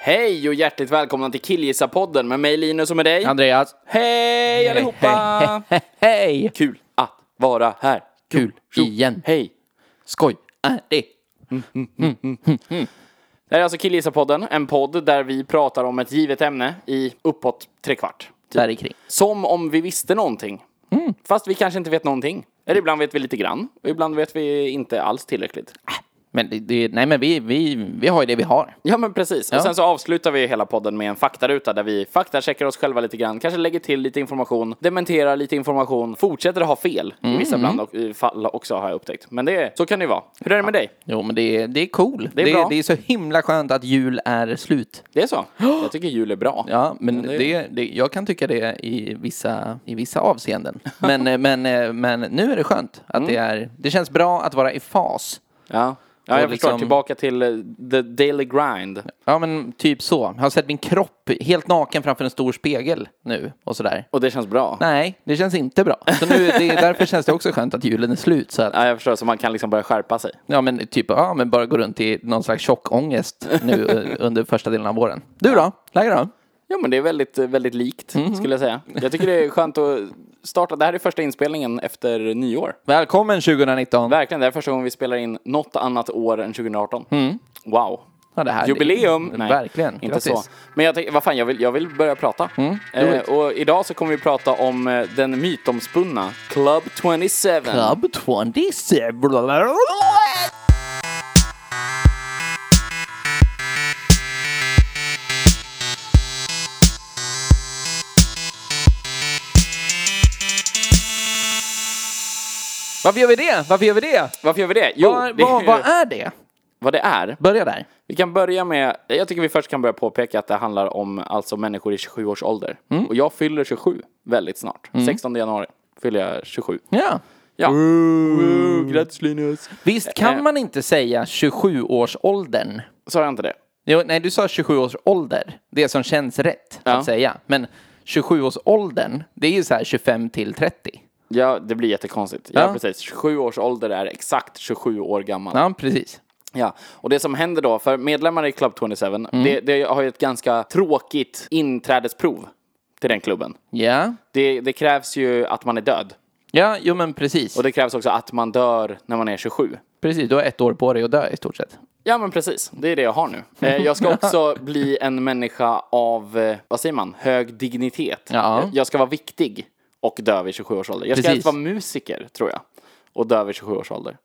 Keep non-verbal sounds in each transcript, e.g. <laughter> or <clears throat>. Hej och hjärtligt välkomna till Killgissa-podden med mig Linus och med dig. Andreas? Hej allihopa! Hej! Kul att vara här. Kul Tjo. igen. Hej. Skoj! Är det? Det här är alltså Killgissa-podden, en podd där vi pratar om ett givet ämne i uppåt trekvart. Där i kring. Som om vi visste någonting. Fast vi kanske inte vet någonting. Eller ibland vet vi lite grann. Och ibland vet vi inte alls tillräckligt. Men det, det, nej men vi, vi, vi har ju det vi har. Ja men precis. Ja. Och sen så avslutar vi hela podden med en faktaruta där vi faktacheckar oss själva lite grann, kanske lägger till lite information, dementerar lite information, fortsätter att ha fel Mm. i vissa bland och, i fall också har jag upptäckt. Men det, så kan det ju vara. Hur är det med dig? Jo men det, är- det är cool. Det är bra. det är så himla skönt att jul är slut. Det <gasps> är så? Jag tycker jul är bra. Ja, men det- det, det, jag kan tycka det i vissa, i vissa <laughs> avseenden. Men, eh, men, eh, men nu är det skönt att det är, det känns bra att vara i fas. Ja, ja jag Och förstår. liksom- Tillbaka till eh, the daily grind. Ja men typ så. Jag har sett min kropp helt naken framför en stor spegel nu och sådär. Och det känns bra. Nej, det känns inte bra. Så nu, det, är- därför känns det också skönt att julen är slut. Så att, Ja, jag förstår, så man kan liksom börja skärpa sig. ja, men typ, ja, men bara gå runt i någon slags tjock ångest nu eh, under första delen av våren. Du då? Läget då? Ja men det är väldigt, eh, väldigt likt Mhm. skulle jag säga. Jag tycker det är skönt att starta, det här är första inspelningen efter nyår. Välkommen 2019! Verkligen, det här är första gången vi spelar in något annat år än 2018. Wow. Mm. Ja, det här- Jubileum! det- Nej, verkligen. Inte Grattis. Mm, så. Men jag tänker, vad fan, jag vill, jag vill börja prata. eh, och idag så kommer vi prata om eh, den mytomspunna Club 27. Club 27. Varför gör vi det? Varför gör vi det? Varför gör vi det? Jo, vad, det är vad, vad är det? vad det är. Börja där. Vi kan börja med, jag tycker vi först kan börja påpeka att det handlar om alltså människor i 27 års ålder. Mm. Och jag fyller 27 väldigt snart. 16 januari fyller jag 27. Ja. Ja. Woo, Grattis Linus! Visst Eh. kan man inte säga 27-årsåldern? Sa jag inte det? Jo, nej, du sa 27 års ålder. Det som känns rätt Ja. att säga. Men 27 års åldern, det är ju så här 25 till 30. Ja, det blir jättekonstigt. Ja, Ja. precis. 27 års ålder är exakt 27 år gammal. Ja. Ja, precis. Och det som händer då, för medlemmar i Club 27, Mm. det, det har ju ett ganska tråkigt inträdesprov till den klubben. Ja. Det, det krävs ju att man är död. Ja, jo men precis. Och det krävs också att man dör när man är 27. Precis, du har ett år på dig att dö i stort sett. Ja men precis, det är det jag har nu. Eh, <laughs> Jag ska också bli en människa av, eh, vad säger man, hög dignitet. Ja. Eh, Jag ska vara viktig och dö vid 27 års ålder. Jag ska Precis. helst vara musiker, tror jag. Och dö vid 27 års ålder.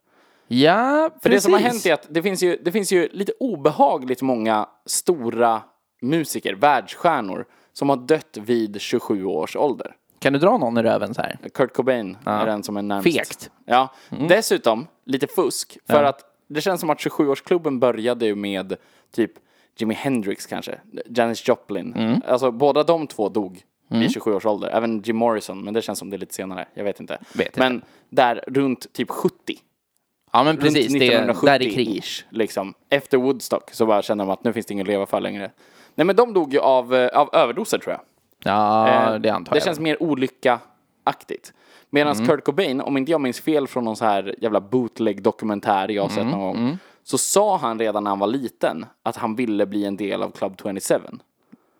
Ja, precis. För det som har hänt är att det finns, ju, det finns ju lite obehagligt många stora musiker, världsstjärnor, som har dött vid 27 års ålder. Kan du dra någon i röven så här? Kurt Cobain är den som är närmast. Fegt. Mm. Ja. Dessutom, lite fusk, för att det känns som att 27-årsklubben började ju med typ Jimi Hendrix kanske, Janis Joplin. Mm. Alltså båda de två dog vid 27 års ålder. Även Jim Morrison, men det känns som det är lite senare. Jag vet inte. Vet men där runt typ 70 Ja, men precis. runt Det är där i 1970 krig. ish liksom. Efter Woodstock så bara kände de att nu finns det ingen att leva för längre. Nej men de dog ju av, eh, av överdoser tror jag. Ja, Eh, det antar det jag. Mm. känns mer olycka-aktigt. Medan Kurt Cobain, om inte jag minns fel från någon så här jävla bootleg-dokumentär jag har Mm, sett någon gång, så sa han redan när han var liten att han ville bli en del av Club 27.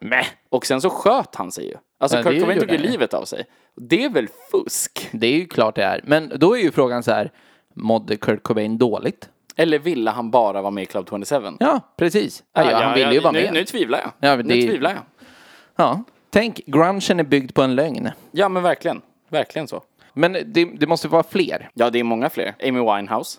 Mäh. Och sen så sköt han sig ju. Alltså Ja, det Kurt Cobain gjorde tog ju han ju. livet av sig. Det är väl fusk? Det är ju klart det är. Men då är ju frågan så här, mådde Kurt Cobain dåligt? Eller ville han bara vara med i Club 27? Ja, precis. Ja, ja, han ville ju vara nu, med. Nu tvivlar jag. Ja, men Nu det- tvivlar jag. Ja. Tänk, grungen är byggd på en lögn. Ja men verkligen. Verkligen så. Men det, det måste vara fler. Ja, det är många fler. Amy Winehouse.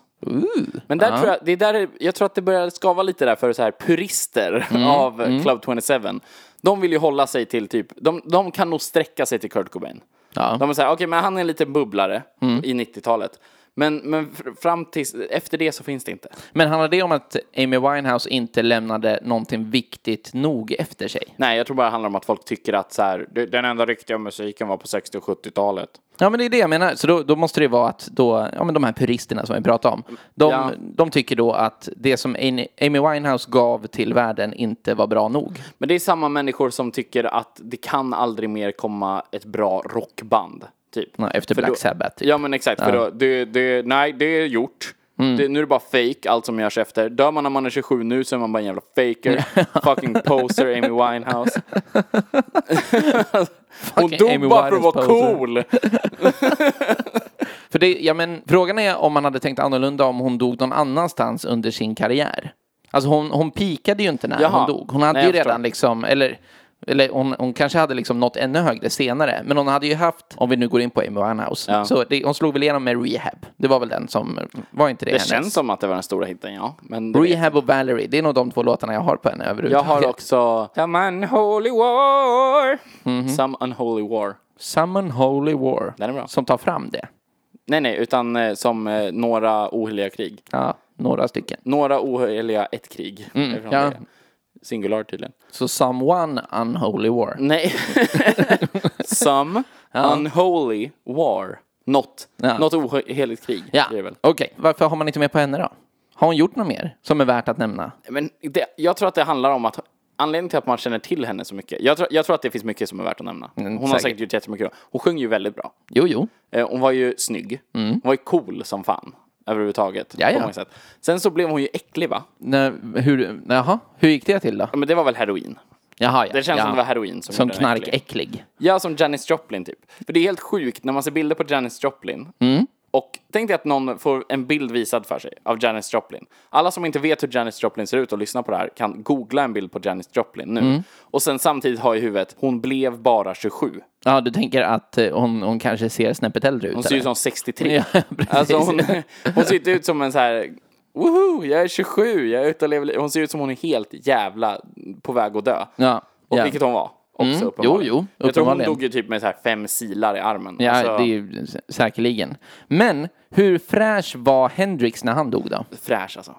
Men där tror jag, det är där, jag tror att det börjar skava lite där för så här purister <laughs> av Club 27. De vill ju hålla sig till typ, de, de kan nog sträcka sig till Kurt Cobain. Ja. De är såhär, okej men han är en liten bubblare i 90-talet. Men, men fr- fram tills, efter det så finns det inte. Men handlar det om att Amy Winehouse inte lämnade någonting viktigt nog efter sig? Nej, jag tror bara det handlar om att folk tycker att så här, "Du, den enda riktiga musiken var på 60 och 70-talet. Ja, men det är det jag menar. Så då, då måste det vara att då, ja, men de här puristerna som vi pratade om, de, Ja. de tycker då att det som Amy Amy Winehouse gav till världen inte var bra nog. Men det är samma människor som tycker att det kan aldrig mer komma ett bra rockband. Typ. Ja, efter För Black då- Sabbath. Typ. Ja men exakt, för då, det, det, nej det är gjort. Mm. Det, nu är det bara fake allt som görs efter. Dör man när man är 27 nu så är man bara en jävla <laughs> faker. fucking poser Amy Winehouse. Hon Fucking dog Amy bara för att Winehouse vara poser. <laughs> cool. För det, ja, men, frågan är om man hade tänkt annorlunda om hon dog någon annanstans under sin karriär. Alltså hon, hon pikade ju inte när Jaha. hon dog. Hon hade Nej, ju jag förstår. redan liksom, eller, eller hon, hon kanske hade liksom nått ännu högre senare. Men hon hade ju haft, om vi nu går in på Amy Winehouse, Ja. så det, hon slog väl igenom med Rehab. Det var väl den som, var inte det, Det hennes? känns som att det var den stora hitten ja. Men det vet Rehab och Valerie, det är nog de två låtarna jag har på henne Jag överhuvudtaget. har också Some unholy war. Mhm. Some unholy war. Summon Holy War, Den är bra. som tar fram det. Nej, nej, utan eh, som eh, några oheliga krig. Ja, några stycken. Några oheliga ett krig. Eftersom Mm, ja. det är Singular tydligen. Så Someone Unholy War. <laughs> Nej. Some unholy war. Något. Ja. Något oheligt krig. Ja, Det är väl. okej. Varför har man inte med på henne då? Har hon gjort något mer som är värt att nämna? Men det, jag tror att det handlar om att anledningen till att man känner till henne så mycket. Jag tror, jag tror att det finns mycket som är värt att nämna. Hon har Mm, säkert. säkert gjort jättemycket bra. Hon sjöng ju väldigt bra. Jo, jo. Eh, Hon var ju snygg. Mm. Hon var ju cool som fan. Överhuvudtaget. Jaja. På många sätt. Sen så blev hon ju äcklig va? Nä, hur, jaha, hur gick det till då? Ja, Men det var väl heroin? Jaha, ja. Det känns ja. som det var heroin som, Som gjorde henne äcklig. knarkäcklig. Ja, som Janis Joplin typ. För det är helt sjukt när man ser bilder på Janis Joplin. Mm. Och tänk dig att någon får en bild visad för sig av Janis Joplin. Alla som inte vet hur Janis Joplin ser ut och lyssnar på det här kan googla en bild på Janis Joplin nu. Mm. Och sen samtidigt ha i huvudet, hon blev bara 27. Ja, du tänker att eh, hon, hon kanske ser snäppet äldre ut? Hon ser ju eller? som 63. <laughs> Ja, precis. <laughs> <laughs> alltså hon, hon ser inte ut som en så här, woho, jag är 27, jag är ute och lever li-" Hon ser ut som hon är helt jävla på väg att dö. Ja, Och ja. Mm. vilket hon var. Också uppenbarligen. jo, jag tror hon uppenbarligen. dog ju typ med så här fem silar i armen. Ja, Alltså- det är ju sä- säkerligen. Men hur fräsch var Hendrix när han dog då? fräsch alltså.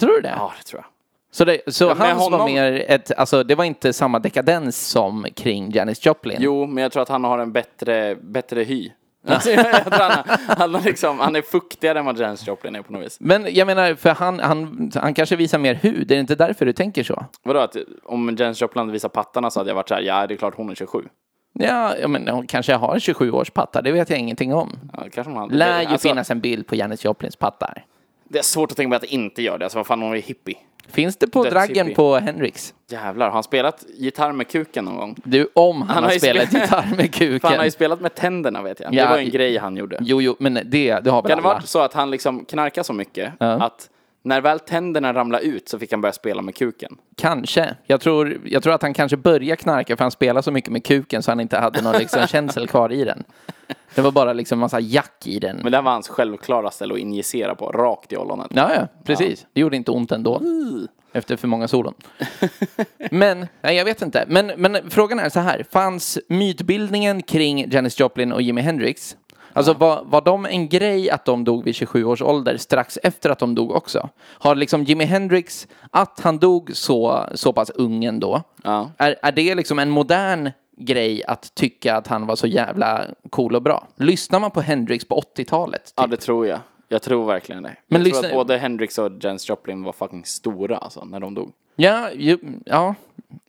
Tror du det? Ja, det tror jag. Så, det, så men hans var honom- mer ett, alltså det var inte samma dekadens som kring Janis Joplin? Jo, men jag tror att han har en bättre, <laughs> bättre hy. Alltså, <laughs> jag tror han, han, har liksom, han är fuktigare än vad Janis Joplin är på något vis. Men jag menar, för han, han, han kanske visar mer hud, är det inte därför du tänker så? Vadå, att om Janis Joplin hade visat pattarna så hade jag varit så här, ja det är klart hon är 27. Ja, ja, men hon kanske har en 27 års patta, det vet jag ingenting om. Ja, kanske hon hade. Lär ju Alltså, finnas en bild på Janis Joplins pattar. Det är svårt att tänka mig att det inte gör det, alltså vad fan hon är hippie. Finns det på Dödshippie. draggen på Henriks? Jävlar, har han spelat gitarr med kuken någon gång? Du, om han, har har ju spelat spelat- <laughs> gitarr med Fan, han har kuken. ju spelat med tänderna vet jag. Ja. Det var ju en grej han gjorde. Jo, jo, men det, det har väl Kan det alla. varit så att han liksom knarkar så mycket att när väl tänderna ramlade ut så fick han börja spela med kuken? Kanske. Jag tror, jag tror att han kanske började knarka för han spelade så mycket med kuken så han inte hade någon <laughs> liksom känsel kvar i den. Det var bara liksom massa jack i den. Men det här var hans självklara ställe att injicera på, rakt i ollonet. Ja, ja, precis. Det gjorde inte ont ändå. Uh. Efter för många solon. men, nej jag vet inte. Men, men frågan är så här. Fanns mytbildningen kring Janis Joplin och Jimi Hendrix? Alltså var, var de en grej att de dog vid 27 års ålder strax efter att de dog också? Har liksom Jimi Hendrix, att han dog så, så pass ung ändå, Ja. är, är det liksom en modern grej att tycka att han var så jävla cool och bra? Lyssnar man på Hendrix på 80-talet? Ja, det tror jag. Jag tror verkligen det. typ. Men Men jag lyssna- tror att både Hendrix och Janis Joplin var fucking stora alltså, när de dog. Ja, ju, ja.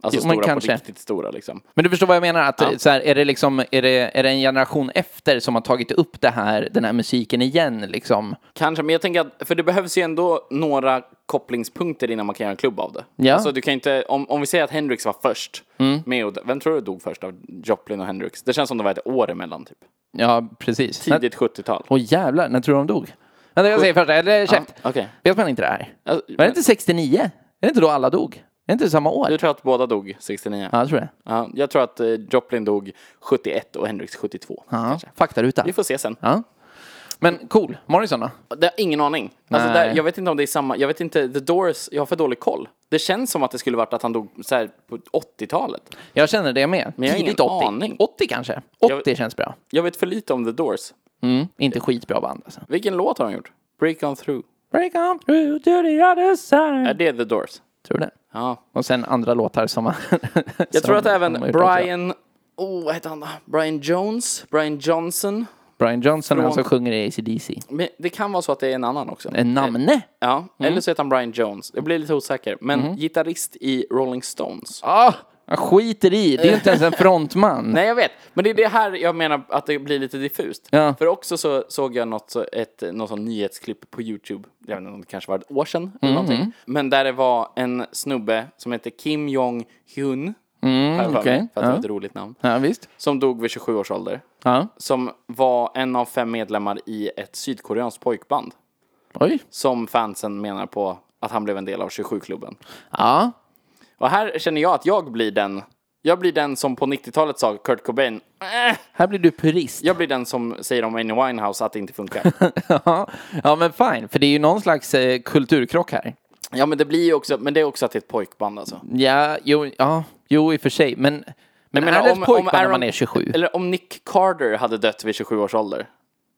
Alltså Jo, men stora kanske. på riktigt stora liksom. Men du förstår vad jag menar? Att, så här, är, det liksom, är, det, är det en generation efter som har tagit upp det här, den här musiken igen? Liksom? Kanske, men jag tänker att, för det behövs ju ändå några kopplingspunkter innan man kan göra en klubb av det. Ja. Mm. Alltså du kan inte, om, om vi säger att Hendrix var först med och, vem tror du dog först av Joplin och Hendrix? Det känns som det var ett år emellan typ. Ja, precis. När- Tidigt 70-tal. Åh jävlar, när tror du de dog? Vänta, jag säger först. Eller käft. Ja, okej. Vet man inte det här? Alltså, Var det inte 69? Är det inte då alla dog? Är det inte samma år? Du tror att båda dog 69? Ja, jag tror det. Ja, jag tror att eh, Joplin dog 71 och Hendrix 72. Ja, kanske. faktaruta. Vi får se sen. Ja. Men cool, Morrison då? Det har ingen aning. Alltså Nej. där, jag vet inte om det är samma. Jag vet inte. The Doors, jag har för dålig koll. Det känns som att det skulle varit att han dog så här på 80-talet. Jag känner det med. jag har ingen Tidigt 80. aning. 80 kanske? 80 Jag- känns bra. Jag vet för lite om The Doors. Mm, inte skitbra band alltså. Vilken låt har han gjort? Break on through. Break on through to the other Är side. det The Doors? Tror det. Ja. Och sen andra låtar som... Jag tror att även Brian... Brian... Oh, vad heter han då? Brian Jones? Brian Johnson? Brian Johnson, han som Från- sjunger i ACDC. Men det kan vara så att det är en annan också. En Mm. namne? Ja, eller så heter han Brian Jones. Jag blir lite osäker. Men Mm. gitarrist i Rolling Stones. Ah, jag skiter i. Det är ju inte ens en frontman. Nej, jag vet. Men det är det här jag menar att det blir lite diffust. Ja. För också så såg jag något, så- ett, något sånt nyhetsklipp på YouTube, jag vet inte om det kanske var ett år sedan eller Mm. någonting. Men där det var en snubbe som hette Kim Jong-Hyun, har jag för mig, Mm, okej. för att det var Ja. ett roligt namn, Ja, visst. som dog vid 27 års ålder. Ja. Som var en av fem medlemmar i ett sydkoreanskt pojkband. Oj. Som fansen menar på att han blev en del av 27-klubben. Ja. Och här känner jag att jag blir den, jag blir den som på 90-talet sa Kurt Cobain, "Äh, Här blir du purist. Jag blir den som säger om Amy Winehouse att det <laughs> inte funkar. Ja. ja, men fine. För det är ju någon slags eh, kulturkrock här. ja, men det blir ju också, men det är också att det är ett pojkband alltså. Ja, jo, ja, jo i och för sig. Men, men menar, är det om- ett om pojkband när Aaron- man är 27? Eller om Nick Carter hade dött vid 27 års ålder.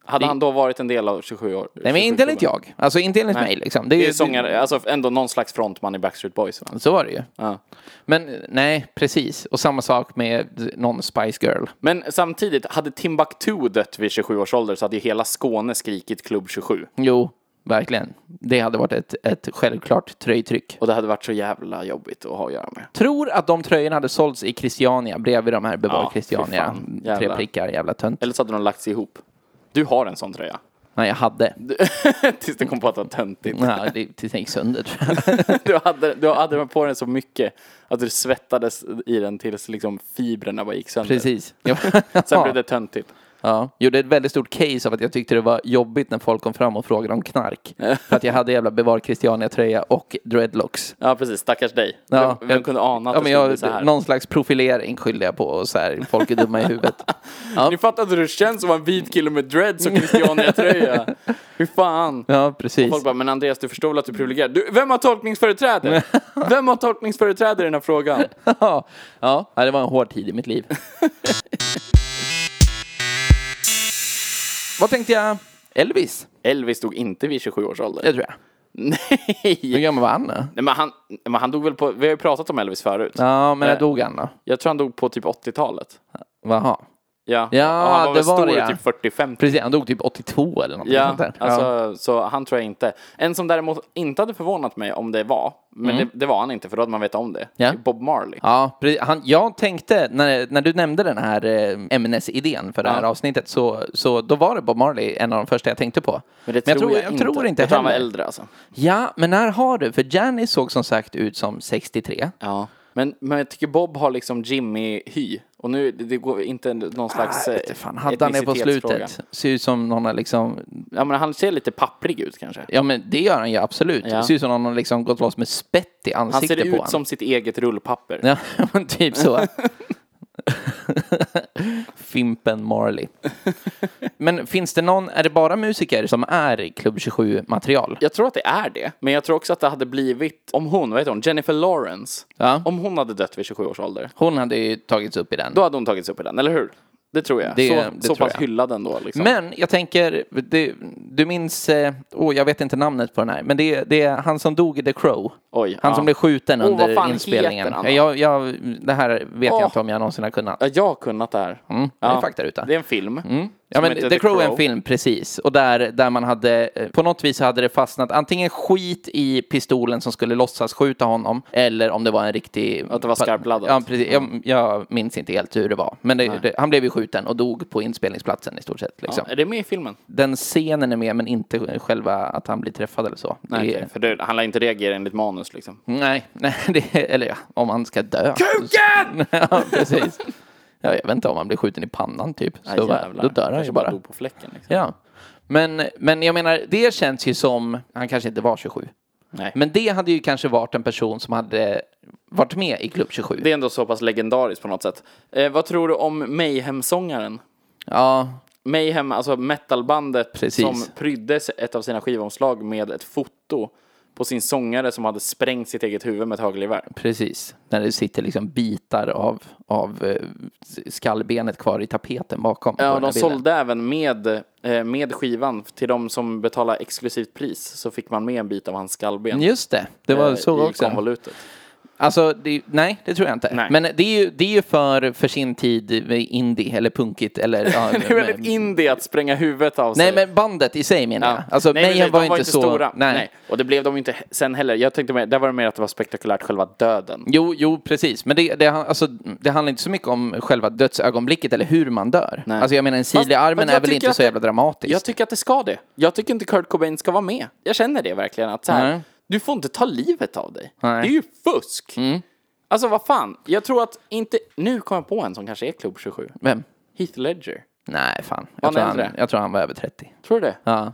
Hade han då varit en del av 27 år? Nej, men inte enligt jag. Alltså inte enligt mig liksom. Det är Det är ju ju sångare, alltså ändå någon slags frontman i Backstreet Boys. va? Så var det ju. Ja. Men eh, nej, precis. Och samma sak med någon Spice Girl. Men samtidigt, hade Timbuktu dött vid 27 års ålder så hade ju hela Skåne skrikit klubb 27. Jo, verkligen. Det hade varit ett, ett självklart tröjtryck. Och det hade varit så jävla jobbigt att ha att göra med. Tror att de tröjorna hade sålts i Christiania bredvid de här Bevar Ja, fy Christiania. fan. Tre Jävlar. prickar, jävla tönt. Eller så hade de lagt sig ihop. Du har en sån tröja. <laughs> Nej, jag hade. Tills det kom på att det var töntigt. Ja, det tills <laughs> den gick sönder tror jag. Du hade, du hade på den så mycket att du svettades i den tills liksom fibrerna bara gick sönder. Precis. Ja. Sen blev det töntigt. <laughs> Ja, gjorde ett väldigt stort case av att jag tyckte det var jobbigt när folk kom fram och frågade om <laughs> knark. För att jag hade jävla Bevar Christiania-tröja och dreadlocks. Ja precis, stackars dig. Ja, Vem kunde ana att ja, det men skulle bli jag, så här? Någon slags profilering skyllde jag på och så här, folk är dumma i <laughs> huvudet. Ni fattar inte hur det känns att vara en vit kille med <laughs> dreads och Christiania-tröja. Hur fan? Ja, precis. Folk bara, men Andreas du förstår väl att du är privilegierad? Du, vem <laughs> har tolkningsföreträde? Vem har tolkningsföreträde i den här frågan? Ja, ja, det var en hård tid i mitt liv. <laughs> Vad tänkte jag? Elvis, Elvis dog inte vid 27 års ålder. det tror jag. Hur <laughs> Nej! gammal var han då? Nej, men, han, men han dog väl på, vi har ju pratat om Elvis förut. Ja, men när Eh. dog han då? Jag tror han dog på typ 80-talet. Jaha. Ja, Ja, och han var det väl var stor det, i ja. typ 45 Precis, han dog typ 82 eller något Ja, sånt där. alltså, ja. så han tror jag inte. En som däremot inte hade förvånat mig om det var, men det, det var han inte för då hade man vetat om det. Mm. Typ Ja. Bob Marley. Ja, precis. Han, jag tänkte när, när du nämnde den här eh, ämnesidén för det här Ja. avsnittet så, så då var det Bob Marley en av de första jag tänkte på. jag tror, jag tror inte Jag tror han var heller. äldre alltså. Ja, men när har du? För Janis såg som sagt ut som 63. Ja. Men, men jag tycker Bob har liksom Jimmy-hy. Och nu, det, det går inte någon slags... Ah, eh, Vet du fan, hade han det på etnicitetsfråga. slutet? Ser ut som någon har liksom... Ja, men han ser lite papprig ut kanske. Ja, men det gör han ju absolut. Ja. Ser ut som någon har liksom gått loss med spett i Han ansiktet ser på ut honom. som sitt eget rullpapper. Ja, <laughs> men typ så. Fimpen Marley. Men finns det någon, är det bara musiker som är Klubb 27-material? Jag tror att det är det, men jag tror också att det hade blivit om hon, vad heter hon, Jennifer Lawrence. Ja. Om hon hade dött vid 27 års ålder. Hon hade ju tagits upp i den. Då hade hon tagits upp i den, eller hur? Det tror jag. Det- så det så tror pass jag. hyllad ändå. Liksom. Men jag tänker, du, du minns, eh, åh jag vet inte namnet på den här, men det, är- det är han som dog i The Crow. Oj, han ja. som blev skjuten Åh, vad under fan inspelningen. heter han då? jag, jag, det här vet Åh. jag inte om jag någonsin har kunnat. Ja, jag har kunnat det här. Mm, Det är Ja. faktaruta. Det är en film. Mm. Ja, men heter The, The Crow är en Crow. film, precis. Och där, där man hade, eh, på något vis hade det fastnat antingen skit i pistolen som skulle låtsas skjuta honom, eller om det var en riktig... Att det var skarpladdat. Ja, precis. Jag, jag minns inte helt hur det var. Men det, det, han blev ju skjuten och dog på inspelningsplatsen i stort sett. Liksom. Är det med i filmen? Den scenen är med, men inte själva att han blir träffad eller så. Det Nej, är- okej, för det, han lär inte reagera enligt manus liksom. Nej, nej <laughs> det, eller ja, om han ska dö. Kuken! <laughs> ja, precis. Ja, jag vet inte om han blir skjuten i pannan typ. Så bara, jävlar. då dör han Kanske ju bara. dog på fläcken. Liksom. Ja. Men, men jag menar, det känns ju som, han kanske inte var 27. Nej. Men Men det hade ju kanske varit en person som hade varit med i Klubb 27. det är ändå så pass legendariskt på något sätt. Eh, vad tror du om Mayhem-sångaren? Ja, Mayhem, alltså metalbandet Precis. som prydde se- ett av sina skivomslag med ett foto på sin sångare som hade sprängt sitt eget huvud med ett hagelgevär. Precis, när det sitter liksom bitar av, av eh, skallbenet kvar i tapeten bakom. på Ja, den och här de bilden. sålde även med, eh, med skivan till de som betalade exklusivt pris så fick man med en bit av hans skallben. Just det, det var eh, så i också. konvolutet. Alltså, det, nej, det tror jag inte. Nej. Men det är ju, det är ju för, för sin tid med indie eller punkigt eller... <laughs> Ja, Det är väldigt indie att spränga huvudet av Nej, sig. men bandet i sig menar jag. Ja. Alltså, Nej, Mayhem precis, var de ju inte så... stora. Nej. Nej. Och det blev de ju inte he- sen heller. Jag tänkte mer, där var det mer att det var spektakulärt själva döden. Jo, jo, precis. Men det, det, han- alltså, det handlar inte så mycket om själva dödsögonblicket eller hur man dör. Nej. Alltså, jag menar, en sil i Fast- armen fast jag är väl tycker inte att så det- jävla dramatiskt? Jag tycker att det ska det. Jag tycker inte Kurt Cobain ska vara med. Jag känner det verkligen. Att så här, Nej. Du får inte ta livet av dig. Nej. Mm. Det är ju fusk. Alltså vad fan. Jag tror att inte... Nu kom jag på en som kanske är klubb 27. Vem? Heath Ledger. Nej, fan. Var Jag han tror, han, äldre? jag tror han var över 30. Tror du det? Ja,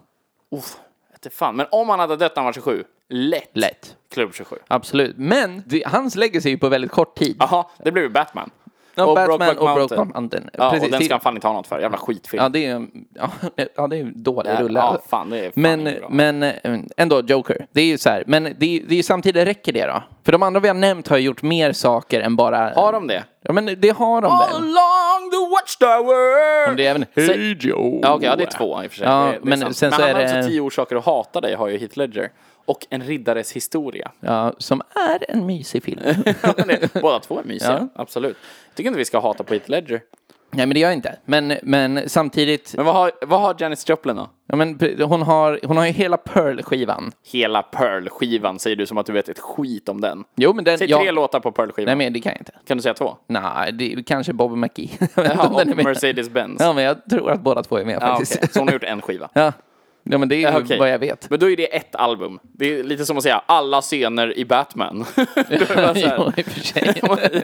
Uff, inte fan. Men om han hade dött när han var 27. Lätt. lätt. Klubb 27. Absolut. Men det, hans legacy är ju på väldigt kort tid. Jaha, det blev ju Batman. Ja, Batman Brokeback och Brokeback Mountain. Ja, Precis, och den det- ska han fan inte ha något för. Jävla skitfilm. Ja, det är ju ja, <laughs> ja, det är ju dålig Ja, rulle. ja, alltså. fan, det är fan men, inte bra. men eh, ändå, Joker. Det är ju så här. Men det är, det är ju samtidigt räcker det då? För de andra vi har nämnt har ju gjort mer saker än bara... Har de det? Ja, men det har de All väl? along the watchtower! Men Det är även... Hej Joe! Ja, okej, ja, det är två i och för sig. Ja, det, det är men sant. sen men så han är har det- också tio orsaker att hata dig, har ju Heath Ledger. Och En riddares historia. Ja, som är en mysig <laughs> film. Ja, <laughs> men det- Båda två är mysiga, Ja. absolut. Jag tycker inte vi ska hata på Heath Ledger. Nej, men det gör jag inte. Men, men samtidigt... Men vad har, vad har Janis Joplin då? Ja, men, pr- hon, har, hon har ju hela Pearl-skivan. Hela Pearl-skivan säger du som att du vet ett skit om den. Jo, men den... Säg ja- tre låtar på Pearl-skivan. Nej, men det kan jag inte. Kan du <laughs> säga två? Nej, det är kanske Bobby McGee. <laughs> Jag vet inte Ja, om den är och med. Mercedes-Benz. Ja, men jag tror att båda två är med Ja, faktiskt. okej. Så hon har gjort en skiva. Ja. <laughs> ja, men det är ju Okej. vad jag vet. Men då är det ett album. Det är lite som att säga alla scener i Batman. <laughs> Då är <laughs> det bara så här. jo, i och för sig.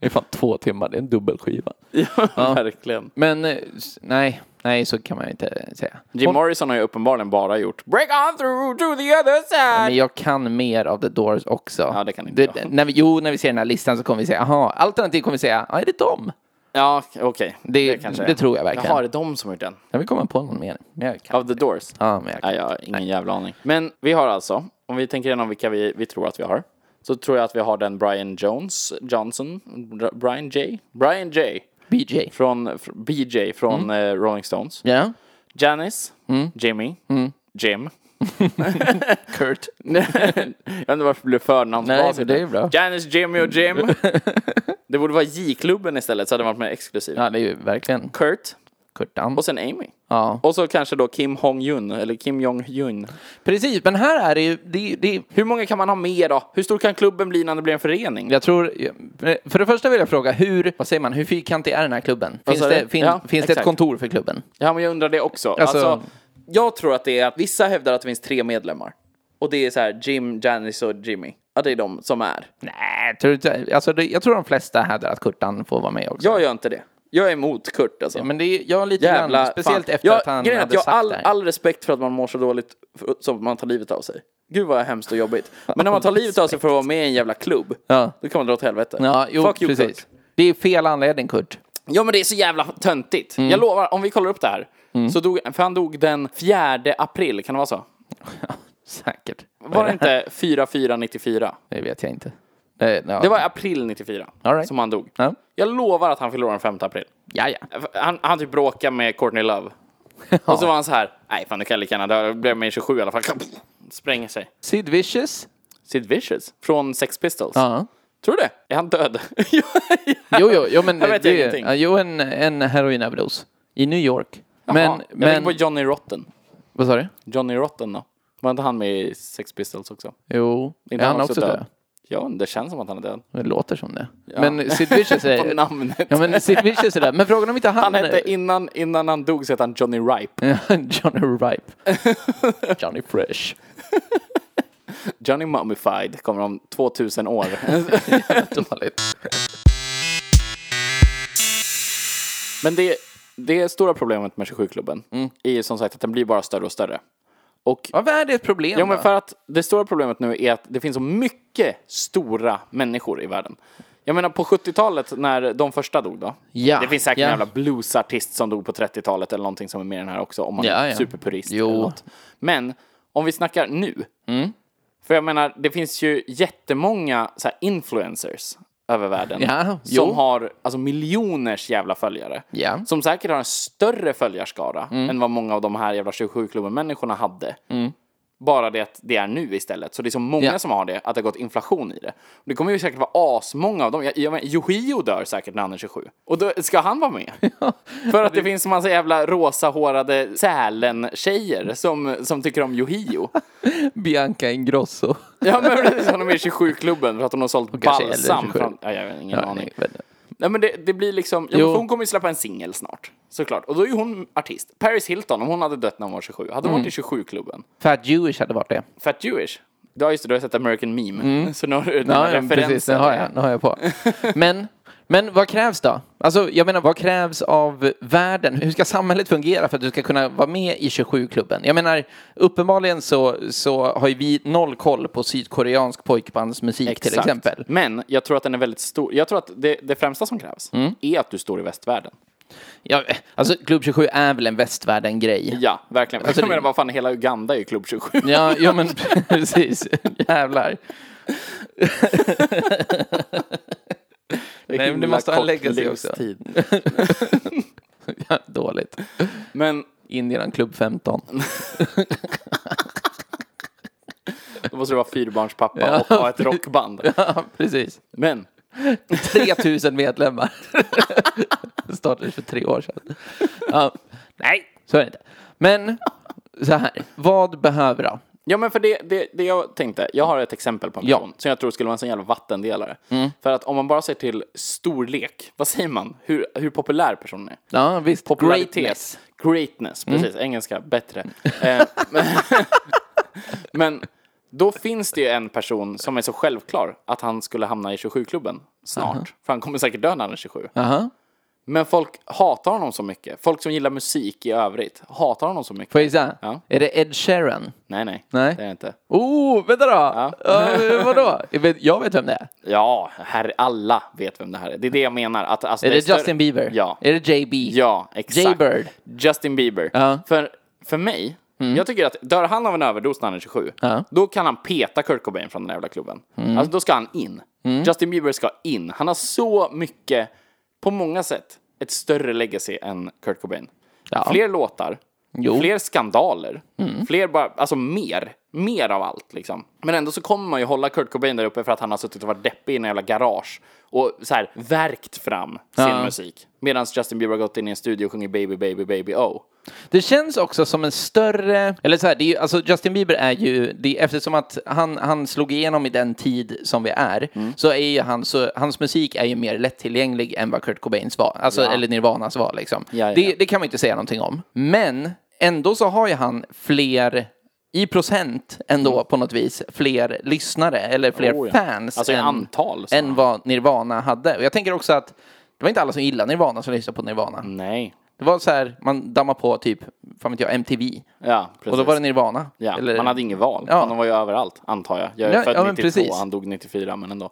det är fan två timmar, det är en dubbelskiva. <laughs> Verkligen. Men eh, s- nej, nej så kan man ju inte säga. Jim Morrison har ju uppenbarligen bara gjort Break on through to the other Men side. jag kan mer av The Doors också. Ja, det kan inte jag. när vi, Jo, när vi ser den här listan så kommer vi säga, aha, alternativt kommer vi säga, ja, är det dem? Ja, okej. Det- är. det tror jag verkligen. Jaha, är det de som har gjort den? Jag vill komma på någon mer. Men jag kan. Of the Doors? Ja, men jag kan. Nej, jag har ingen jävla aning. Men vi har alltså, om vi tänker igenom vilka vi, vi tror att vi har, så tror jag att vi har den Brian Jones, Johnson, Br- Brian J, Brian J, BJ. från fr- BJ från Mm. eh, Rolling Stones, Ja. Janis, Mm. Jimmy, Jim. <laughs> Kurt. Nej, jag vet inte varför det blev Nej, förnamnsbasis. men det är bra. Janis, Jimmy och Jim. <laughs> Det borde vara J-klubben istället så hade den varit mer exklusiv. Ja, det är ju verkligen Kurt Kurtan. och sen Amy. Ja. Och så kanske då Kim Hong-Jun eller Kim Jong-Jun. Precis, men här är det ju, det, är- det, är- Hur många kan man ha med då? Hur stor kan klubben bli innan det blir en förening? jag tror, eh, för det första vill jag fråga, hur, vad säger man, hur fyrkantig är den här klubben? Finns, sa det, du? fin, Ja, finns det ett exakt. kontor för klubben? Ja, men jag undrar det också. Alltså- Alltså, jag tror att det är att vissa hävdar att det finns tre medlemmar. Och det är så här Jim, Janis och Jimmy. Ja, det är de som är. Nej, tror du inte, alltså det, jag tror de flesta hävdar att Kurtan får vara med också. Jag gör inte det. Jag är emot Kurt alltså. Men det är, jag är lite Jävla grann, speciellt fan. efter jag, att han grejen är hade att jag har sagt all, det här. all respekt för att man mår så dåligt för, som man tar livet av sig. Gud vad hemskt och jobbigt. Men när man tar livet av sig för att vara med i en jävla klubb, Ja. då kan man dra åt helvete. Ja, jo, Fuck you, precis. Kurt. Det är fel anledning, Kurt. <laughs> Ja men det är så jävla töntigt. Mm. Jag lovar, om vi kollar upp det här. Så dog, för han dog den 4 april, kan det vara så? Säkert. Var det inte 4494? Det vet jag inte. Det, ja. Det var i april 94 All right. som han dog. Ja. Jag lovar att han fyllde år den 5 april. Ja, ja. Han, han typ bråkade med Courtney Love. Och så var han så här, nej fan nu kan jag lika gärna dö, jag blev med i 27 i alla fall. Spränger sig. Sid Vicious? Sid Vicious från Sex Pistols. Ja. Tror du det? Är han död? <laughs> Jo, jo, jo men Jag vet det, ingenting. ja, jo, en, en heroinöverdos. I New York. Men, ja, jag men, tänker på Johnny Rotten. vad sa du? Johnny Rotten då? Var inte han med i Sex Pistols också? Jo, är han också död? Ja, det känns som att han är död. Det låter som det. Men Sid Vicious är... <laughs> På namnet. Ja, men Sid Vicious är död. Men frågan om inte han... Han hette, innan, innan han dog så hette han Johnny Ripe. <laughs> Johnny Ripe. Johnny Fresh. Johnny Mummified kommer om 2000 år. Dåligt. Men det, det stora problemet med 27-klubben Mm. är ju som sagt att den blir bara större och större. Och Vad är det ett problem Jo, men då? för att det stora problemet nu är att det finns så mycket stora människor i världen. Jag menar på 70-talet när de första dog då. Ja, det finns säkert ja. en jävla bluesartist som dog på 30-talet eller någonting som är med i den här också om man Ja, är ja. superpurist Jo. Mm. eller något. Men om vi snackar nu. För jag menar, det finns ju jättemånga så här, influencers över världen. Ja, som jo. har alltså, miljoners jävla följare. Oh. Ja. Mm. Som säkert har en större följarskara än vad många av de här jävla 27-klubben-människorna hade. Bara det att det är nu istället. Så det är så många Ja. som har det, att det har gått inflation i det. Och det kommer ju säkert vara asmånga av dem. Jag, jag menar, Yohio dör säkert när han är 27. Och då ska han <laughs> vara med. För att det finns en massa jävla rosahårade Sälen-tjejer som, som tycker <laughs> om Yohio. Bianca Ingrosso. Ja men precis, hon är med i 27-klubben för att hon har sålt kanske är äldre än balsam. 27. Från, ja, jag har ingen aning. nej, men- Nej men det, det blir liksom, ja, men Jo. för hon kommer ju släppa en singel snart. Såklart. Och då är ju hon artist. Paris Hilton, om hon hade dött när hon var 27, hade Mm. hon varit i 27-klubben? Fat Jewish hade varit det. Fat Jewish? Ja just det, du har sett American Meme. <laughs> Så nu har du den Mm. Ja, här ja referensen. precis. Den har jag, den har jag på. Men, men vad krävs då? Alltså, jag menar, vad krävs av världen? Hur ska samhället fungera för att du ska kunna vara med i 27-klubben? Jag menar, uppenbarligen så, så har ju vi noll koll på sydkoreansk pojkbandsmusik till Exakt. exempel. Men jag tror att den är väldigt stor. Jag tror att det, det främsta som krävs Mm. är att du står i västvärlden. Ja, alltså, Klubb 27 är väl en västvärlden-grej? Ja, verkligen. Alltså, <laughs> jag det- menar, vad fan, hela Uganda är ju klubb 27. Ja, ja <laughs> men <laughs> precis. Jävlar. Nej, men det Himla måste han kort lägga sig också. livstid. Ja, dåligt. Men Indien klubb <laughs> 15. då måste du vara <laughs> fyrbarnspappa och ha ett rockband. Ja, precis. Men 3000 medlemmar. <laughs> Startades för tre år sedan. Ja. Nej, så är det inte. Men så här, vad behöver jag? Ja men för det, det, det jag tänkte, jag har ett exempel på en Ja. Mm. person som jag tror skulle vara en sån jävla vattendelare. För att om man bara ser till storlek, vad säger man? Hur, hur populär personen är? Ja, visst. Popularitet. Greatness. Mm. Greatness, precis. Engelska, bättre. eh, <laughs> men, men då finns det ju en person som är så självklar att han skulle hamna i 27-klubben snart. För han kommer säkert dö när han är 27. Aha. Men folk hatar honom så mycket. Folk som gillar musik i övrigt hatar honom så mycket. Får jag gissa? Ja. Är det Ed Sheeran? Nej, nej. Nej. Det är det inte. Oh, vänta då! Eh, vadå? Jag vet- Jag vet vem det är. Ja, här, alla vet vem det här är. Det är det jag menar. Att, alltså, Är det större- Justin Bieber? Ja. Är det JB? Ja, exakt. J-Bird? Justin Bieber. Ja. Mm. För, för mig, jag tycker att dör han av en överdos när han är 27, då kan han peta Kurt Cobain från den här jävla klubben. Mm. Alltså då ska han in. Justin Bieber ska in. Han har så mycket, på många sätt, ett större legacy än Kurt Cobain. Ja. Fler låtar, Jo. Mm. fler skandaler, fler bara, alltså mer. Mer av allt liksom. Men ändå så kommer man ju hålla Kurt Cobain där uppe för att han har suttit och varit deppig i en jävla garage och så här värkt fram sin Ja. musik. Medan Justin Bieber har gått in i en studio och sjungit Baby Baby Baby Oh. Det känns också som en större, eller så här, det är ju, alltså Justin Bieber är ju, det, är- eftersom att han, han slog igenom i den tid som vi är, Mm. så är ju han, så, hans musik är ju mer lättillgänglig än vad Kurt Cobains var, alltså, eller Nirvanas var liksom. Ja, ja, ja. Det, det kan man ju inte säga någonting om. Men ändå så har ju han fler i procent ändå på något vis fler lyssnare eller fler Mm. Oh, ja. fans Alltså i än, antal, så. än vad Nirvana hade. Och jag tänker också att det var inte alla som gillade Nirvana som lyssnade på Nirvana. Nej. Det var så här, man dammar på typ, fan vet jag, MTV. Ja, precis. Och då var det Nirvana. ja. Eller- Man hade inget val. Ja. Ja. Han var ju överallt, antar jag. Jag är Ja, född ja, men 92, precis. Mm. han dog 94, men ändå.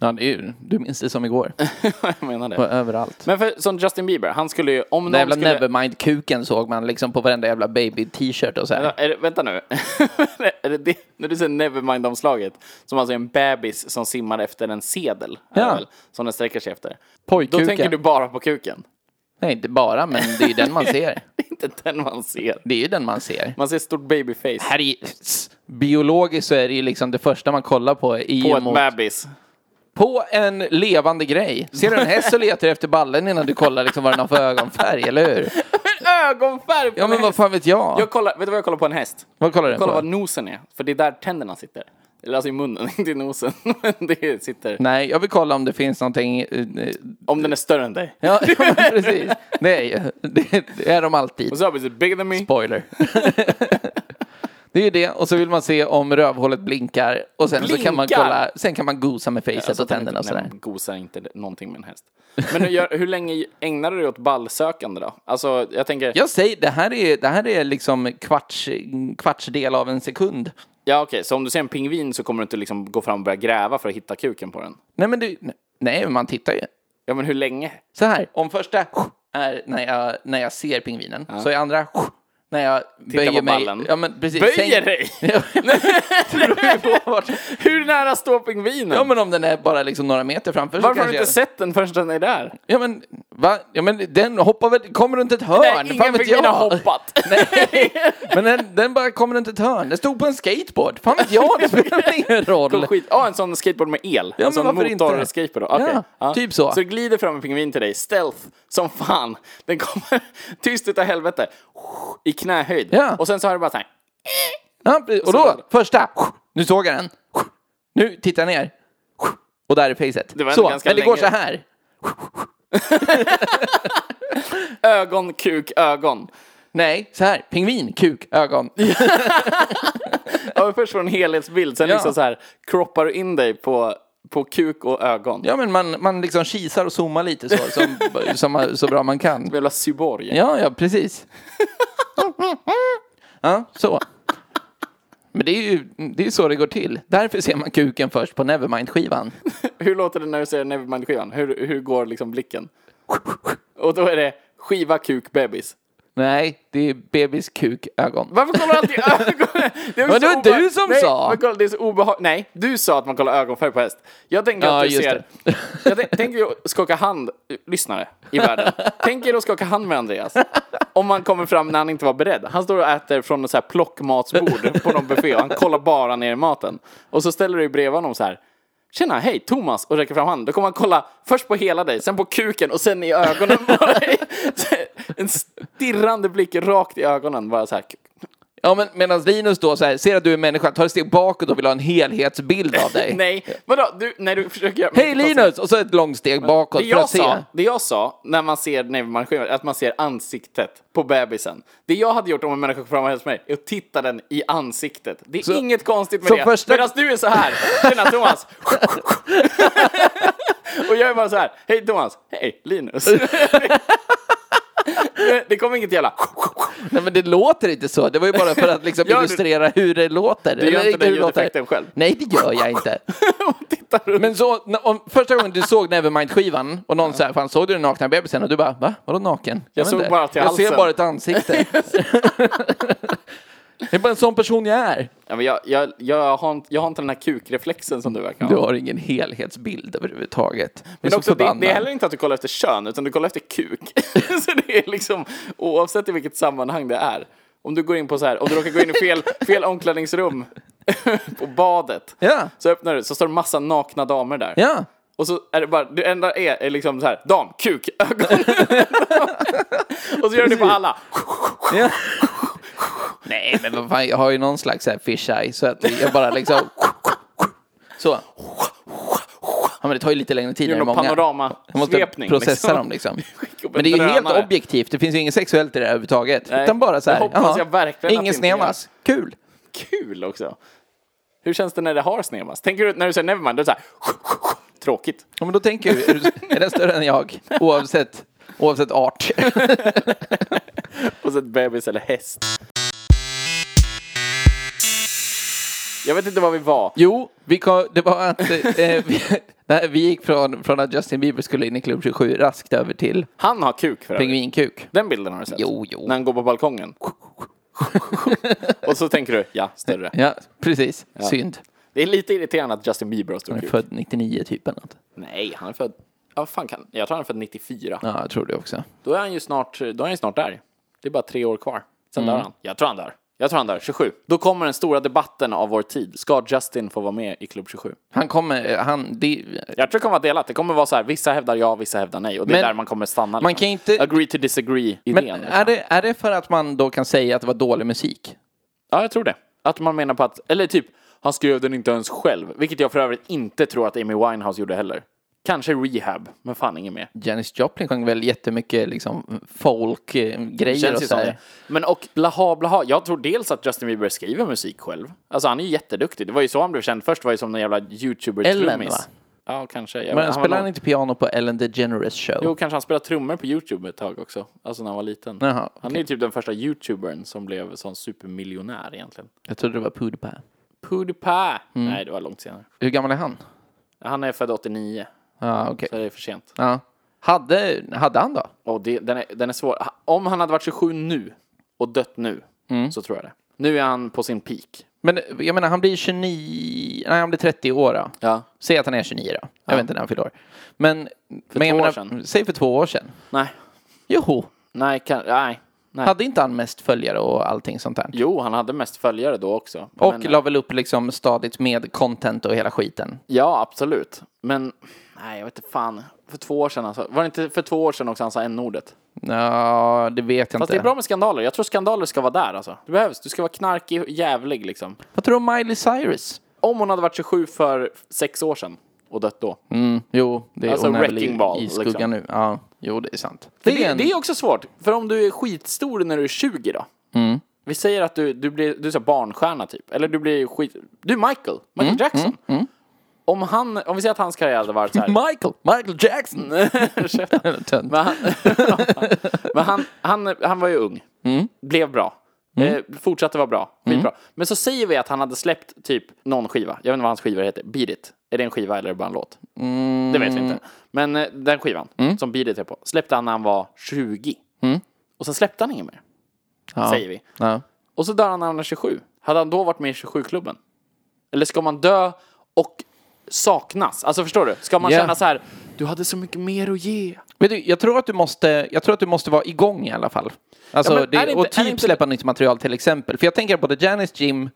Ja, det är ju, du minns det som igår. <laughs> jag menar På <laughs> det. överallt. Men för, som Justin Bieber, han skulle ju... Om Den någon jävla skulle... Nevermind-kuken såg man liksom på varenda jävla baby-t-shirt och så här. Ja, Är det, vänta nu. <laughs> är det det, när du ser Nevermind-omslaget, som alltså är en bebis som simmar efter en sedel, är Ja. det väl, som den sträcker sig efter. Då Pojkkuken. tänker du bara på kuken. <laughs> Nej, inte bara, men det är ju den man ser. Det är inte den man ser. Det är ju den man ser. Man ser ett stort babyface Här är ju, s- biologiskt så är det ju liksom det första man kollar på i på emot- ett bebis. <laughs> på en levande grej. Ser du en häst så letar du efter ballen innan du kollar liksom vad den har för ögonfärg, eller hur? Ögonfärg på Ja, men vad fan vet jag? Jag kollar, vet du vad jag kollar på en häst? Vad kollar du Kolla vad på? nosen är, för det är där tänderna sitter. Eller alltså i munnen, <laughs> inte i nosen. Men det sitter. Nej, jag vill kolla om det finns någonting eh, Om den är större än dig. <laughs> Ja, ja, men precis. Det är, ju- <laughs> det, det är de alltid. Och så har vi bigger than me. Spoiler. <laughs> Det är ju det, och så vill man se om rövhålet blinkar och sen så kan man Blinkar? kolla, sen kan man gosa med facet och tänderna och sådär. Alltså, Nej, man gosar inte det- någonting med en häst. Men hur, gör, hur länge ägnar du dig åt ballsökande då? Alltså, jag tänker... Ja, Jag säger, det här är, det här är liksom kvarts, kvartsdel av en sekund. okej, så om du ser en pingvin så kommer du inte liksom gå fram och börja gräva för att hitta kuken på den? Nej men du, nej men man tittar ju. Ja, men hur länge? Så här, om första är när jag, när jag ser pingvinen, så är andra när jag böjer på mig. ballen. Ja, men precis, Böjer Sänk- <laughs> dig! Det beror ju på vart- Hur nära ståpingvinen? Ja men om den är bara liksom några meter framför så Varför har kanske du inte jag... sett den förrän den är där? Ja men, va? Ja men den hoppar väl, kommer runt ett hörn? Nej, ingen Fan vet pingvin jag. har hoppat. <laughs> Nej, men den, den bara kommer runt ett hörn. Den stod på en skateboard. Fan vet jag, det spelar ingen roll. Skit. Ja, en sån skateboard med el. men en sån varför inte? motorskateboard. Okej. Ja, typ så. Så glider fram en pingvin till dig, stealth, som fan. Den kommer <laughs> tyst utav helvete, i knähöjd. Ja. Och sen så har du bara så här, Ja, precis. och då, första. Nu såg jag den. Nu tittar jag ner. Och där är facet. var ändå så, men ganska det går så länge. här. ögon, kuk, ögon. Nej, så här. Pingvin, kuk, ögon. Ja, men först får du en helhetsbild, sen Ja. liksom så här kroppar du in dig på, på kuk och ögon. Ja, men man, man liksom kisar och zoomar lite så, <laughs> som, som, så bra man kan. Jävla cyborg. Ja, ja, precis. Ja, så. Men det är ju det är ju så det går till. Därför ser man kuken först på Nevermind-skivan. <laughs> Hur låter det när du ser Nevermind-skivan? Hur, hur går liksom blicken? Och då är det skiva, kuk, bebis. Nej, det är bebis, kuk, ögon. Varför kollar du alltid <laughs> ögon? Det Men det så var du obe- som Nej, sa. men kolla, det är så obehagligt. Nej, du sa att man kollar ögonfärg på häst. Jag tänker Ja, att du just ser... det. Jag tän- tänker ju skaka hand, lyssnare <laughs> i världen. Tänk er att skaka hand med Andreas. Om man kommer fram när han inte var beredd. Han står och äter från ett så här plockmatsbord på någon buffé och han kollar bara ner i maten. Och så ställer du dig bredvid honom så här. Tjena, hej, Thomas! Och räcker fram handen. Då kommer han kolla först på hela dig, sen på kuken och sen i ögonen på dig. <laughs> En stirrande blick rakt i ögonen. Bara så här, Ja, men medan Linus då så här, ser att du är människa, tar ett steg bakåt och vill ha en helhetsbild av dig. Nej, vadå? Du, när du försöker göra... Hej Linus! Och så ett långt steg bakåt Det för jag, att se. sa, det jag sa när man ser Nevermind-skivan är att man ser ansiktet på bebisen. Det jag hade gjort om en människa kom fram och hälsade mig är att titta den i ansiktet. Det är inget konstigt med så det. första- Medan du är så här. Tjena Thomas! <laughs> och jag är bara så här. Hej Thomas! Hej <laughs> Linus! det kommer inget jävla... <laughs> Nej men det låter inte så. Det var ju bara för att liksom Gör du- illustrera hur det låter. Du gör Eller inte hur den det låter. ljudeffekten själv. Nej, det gör jag inte. och tittar runt. Men så, n- om, första gången du såg Nevermind-skivan och någon sa fan såg du den nakna bebisen? Och du bara va? Vadå naken? Jag, vet såg inte. bara till Jag ser halsen." bara ett <laughs> ansikte. det är bara en sån person jag är. Ja, men jag, jag, jag, har inte, jag har inte den här kukreflexen som du verkar ha. Du har ingen helhetsbild överhuvudtaget. Men också, det, det är heller inte att du kollar efter kön, utan du kollar efter kuk. <laughs> så det är liksom, oavsett i vilket sammanhang det är. Om du går in på så här, om du råkar gå in i fel, fel omklädningsrum <laughs> på badet. Ja. Så öppnar du, så står det massa nakna damer där. Ja. Och så är det bara, det enda är, är liksom så här, dam, kuk, ögon. <laughs> och så gör du det på alla. <laughs> Ja. Nej, men vad fan, jag har ju någon slags så här fisheye så att jag bara <laughs> liksom... Så. Ja, men det tar ju lite längre tid än Gör någon många. Jag måste panoramasvepning. processa dem <laughs> liksom. Men det är ju helt drönare. objektivt, det finns ju inget sexuellt i det här överhuvudtaget. Nej, Utan bara så här, det hoppas jag verkligen att ingen det inte gör. snemas, kul. Kul också. Hur känns det när det har snemas? Tänker du när du säger Nevermind, då är det så här, <laughs> tråkigt. Ja, men då tänker jag, är du- är den större än jag? Oavsett, oavsett art. <laughs> Och så ett bebis eller häst. Jag vet inte var vi var. Jo, vi kom, det var att eh, vi, <laughs> nej, vi gick från, från att Justin Bieber skulle in i Klubb 27 raskt över till Han har kuk för övrigt. pingvinkuk. Den bilden har du sett? Jo, jo. När han går <laughs> på balkongen. Och så tänker du, ja, <laughs> större. Ja, precis. Synd. Det är lite irriterande att Justin Bieber har stor kuk. Född 99 typ eller något. Nej, han är född... Ja, vad fan kan... Jag tror han är född 94. Ja, jag tror det också. Då är han ju snart, då är han ju snart där. Det är bara tre år kvar. Sen Mm. dör han. Jag tror han dör. Jag tror han dör. 27. Då kommer den stora debatten av vår tid. Ska Justin få vara med i Klubb 27? Han kommer, han, det, Jag tror det kommer vara delat. Det kommer vara så här, vissa hävdar ja, vissa hävdar nej. Och det är Men där man kommer stanna. liksom. man kan inte- Agree to liksom. men disagree-idén. är det, är det för att man då kan säga att det var dålig musik? Ja, jag tror det. Att man menar på att, eller typ, han skrev den inte ens själv. Vilket jag för övrigt inte tror att Amy Winehouse gjorde heller. Kanske Rehab, men fan ingen mer. Janis Joplin sjöng väl jättemycket liksom folkgrejer och Känns så ju som här. det. Men och blaha blaha. Jag tror dels att Justin Bieber skriver musik själv. Alltså han är ju jätteduktig. Det var ju så han blev känd först. var ju som den jävla youtuber Ellen, trummis. va? Ja, kanske. Jag Men vet- spelade var han nog- inte piano på Ellen DeGeneres show? Jo, kanske han spelade trummor på youtube ett tag också. Alltså när han var liten. Jaha, Han är ju typ den första youtubern som blev sån supermiljonär egentligen. Jag trodde det var Pewdiepie. Pewdiepie! Mm. Nej, det var långt senare. Hur gammal är han? Han är född 89. Ja, okej. Så det är för sent. Ja. Hade, hade han då? Och det, den, är, den är svår. Ha- Om han hade varit 27 nu, och dött nu, Mm. så tror jag det. Nu är han på sin peak. Men jag menar, han blir 29, nej han blir 30 år då. Ja. Säg att han är 29 då. Jag vet inte när han fyller år. Men, för två år menar, sedan. säg för två år sedan. Nej, Joho, nej, kan, nej. nej. hade inte han mest följare och allting sånt där? Jo, han hade mest följare då också. Och Men- eh, la väl upp liksom stadigt med content och hela skiten. Ja, absolut. Men nej, jag vet inte fan. För två år sedan alltså. Var det inte för två år sedan också han sa n-ordet? Ja, det vet jag Fast inte. det är bra med skandaler. Jag tror skandaler ska vara där alltså. Det behövs. Du ska vara knarkig och jävlig liksom. Vad tror du om Miley Cyrus? Om hon hade varit 27 för sex år sedan och dött då. Mm, jo, det är Alltså, hon är väl wrecking i, ball, i skuggan liksom. nu. Ja, jo, det är sant. För det, det är också svårt. För om du är skitstor när du är 20 då. Vi säger att du, du blir du är så här barnstjärna typ. Eller du blir skit... Du är Michael. Michael Jackson. Om, han, om vi säger att hans karriär hade varit <laughs> så här. Michael, Michael Jackson! Mm. Ursäkta. <laughs> Tönt. Men, han, men han, <laughs> han, han var ju ung. Mm. Blev bra. Eh, fortsatte vara bra. Skitbra. Men så säger vi att han hade släppt typ någon skiva. Jag vet inte vad hans skivor heter. Beat it. Är det en skiva eller är det bara en låt? Mm. Det vet vi inte. Men eh, den skivan som Beat it är på släppte han när han var 20. Och sen släppte han inget mer. Mm. Ja. Säger vi. Ja. Och så dör han när han är 27. Hade han då varit med i 27-klubben? Eller ska man dö och saknas? Alltså förstår du? Ska man Ja. känna så här, du hade så mycket mer att ge. Vet du, jag tror att du måste, jag tror att du måste vara igång i alla fall. Alltså, Ja, men är det, det och inte- är typ det inte- släppa nytt material till exempel. För jag tänker både Janis, Jim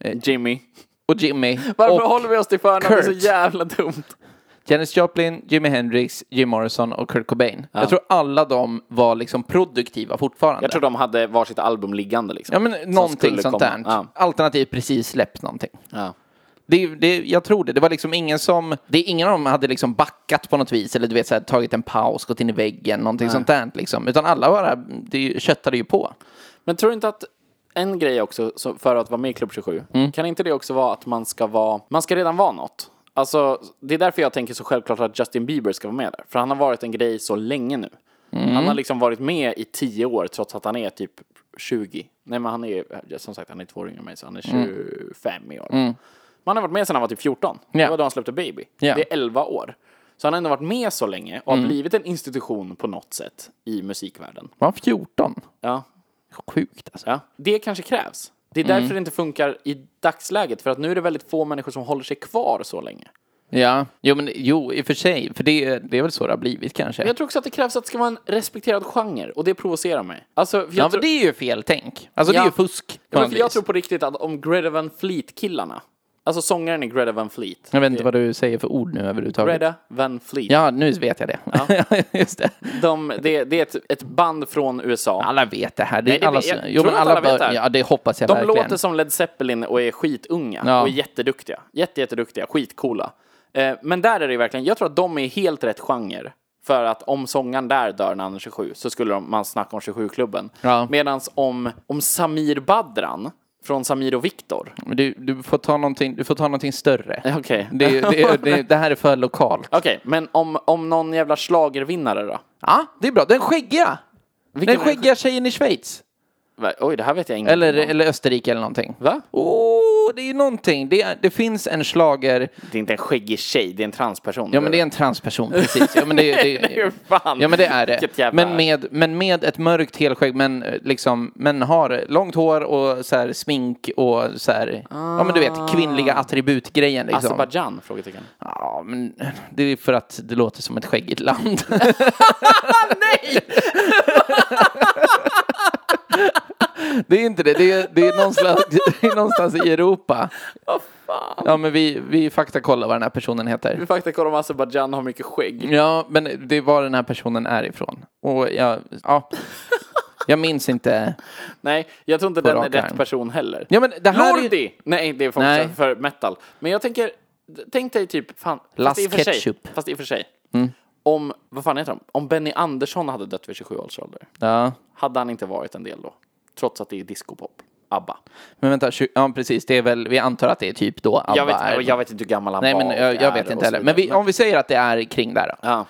Eh. Jimmy. och Jimmy. Varför och håller vi oss till förnamn? Det är så Kurt. jävla dumt. Janis Joplin, Jimi Hendrix, Jim Morrison och Kurt Cobain. Jag tror alla de var liksom produktiva fortfarande. Jag tror de hade varsitt album liggande liksom. Ja men någonting skulle sånt komma. där. Ja. Alternativt precis släppt någonting. Ja. Det, det, jag tror det. Det var liksom ingen som... Det, ingen av dem hade liksom backat på något vis eller du vet så här, tagit en paus, gått in i väggen, någonting sånt där liksom. Utan alla bara det, köttade ju på. Men tror du inte att en grej också så- för att vara med i Klubb 27, Mm. kan inte det också vara att man ska vara, man ska redan vara något? Alltså, det är därför jag tänker så självklart att Justin Bieber ska vara med där. För han har varit en grej så länge nu. Mm. Han har liksom varit med i tio år trots att han är typ 20. Nej men han är, som sagt han är två år yngre än mig så han är Mm. 25 i år. Man har varit med sedan han var typ 14. Ja. Det var då han släppte Baby. Ja. Mm. Det är 11 år. Så han har ändå varit med så länge och har blivit en institution på något sätt i musikvärlden. Var han 14? Ja, Sjukt alltså. Ja. Det kanske krävs. Det är därför Mm. det inte funkar i dagsläget, för att nu är det väldigt få människor som håller sig kvar så länge. Ja, jo men jo i och för sig. För det, det är väl så det har blivit kanske. Jag tror också att det krävs att det ska vara en respekterad genre, och det provocerar mig. Alltså, jag, ja tror, men det är ju fel tänk. Alltså det är Ja. ju fusk. Ja, På men något för jag vis. tror på riktigt att om Greta Van Fleet-killarna, alltså sångaren i Greta Van Fleet, Jag vet inte vad du säger för ord nu överhuvudtaget. Greta Van Fleet, Ja, nu vet jag det. <laughs> Just det. de, det, det är ett, ett band från USA. Alla vet det här. Det är Nej, det alla, vet- jag jo, tror men att alla, alla vet bör, det här. Ja, det hoppas jag De verkligen. låter som Led Zeppelin och är skitunga Ja. och är jätteduktiga. Jätte, jätteduktiga, skitcoola. Eh, men där är det ju verkligen, jag tror att de är helt rätt genre. För att om sångaren där dör när han är 27 så skulle de, man snacka om 27-klubben. Ja. Medan om, om Samir Badran från Samir och Viktor. Men Du, du, får ta någonting, du får ta någonting större. Eh, Okej, Det, det, det, det här är för lokalt. <laughs> Okej, men om, om någon jävla schlagervinnare då? Ja, det är bra. Den skäggiga! Vilken Den är- skäggiga tjejen i Schweiz. Va? Oj, det här vet jag ingenting Eller, om. eller Österrike eller någonting. Va? Åh, det är ju någonting. Det, är- det finns en slager. Det är inte en skäggig tjej, det är en transperson. Ja, men det är en transperson, precis. Ja, men det, det, <laughs> Hur fan? Ja men det är det. Vilket jävla- Men med, men med ett mörkt helskägg men eh, liksom, men har långt hår och så här smink och så här, ja men du Ah. vet kvinnliga attributgrejen liksom. Azerbajdzjan? Frågetecken. Ja men det är för att det låter som ett skäggigt <laughs> land. Nej! <laughs> det är inte det, det är, det är, någonstans, det är någonstans i Europa. Ja men vi, vi faktakollar vad den här personen heter. Vi faktiskt kollar om Azerbajdzjan har mycket skägg. Ja, men det var den här personen är ifrån. Och jag, ja, jag minns inte. Nej, jag tror inte den är rak rätt arm. person heller. Ja, men det här är- Lordi! Nej, det är folk Nej. som- för metal. Men jag tänker, tänk dig typ, fan, Lass fast i och för sig. ketchup. Mm. Fast i och för sig. Om, vad fan heter de? Om Benny Andersson hade dött vid 27 års ålder, Ja, hade han inte varit en del då? Trots att det är discopop. ABBA. men vänta, tju- ja precis, det är väl, vi antar att det är typ då ABBA Jag är. vet, jag vet inte hur gammal han Nej, var. men och jag, jag är vet och inte så heller. vidare. Men vi, om vi säger att det är kring där då. Ja.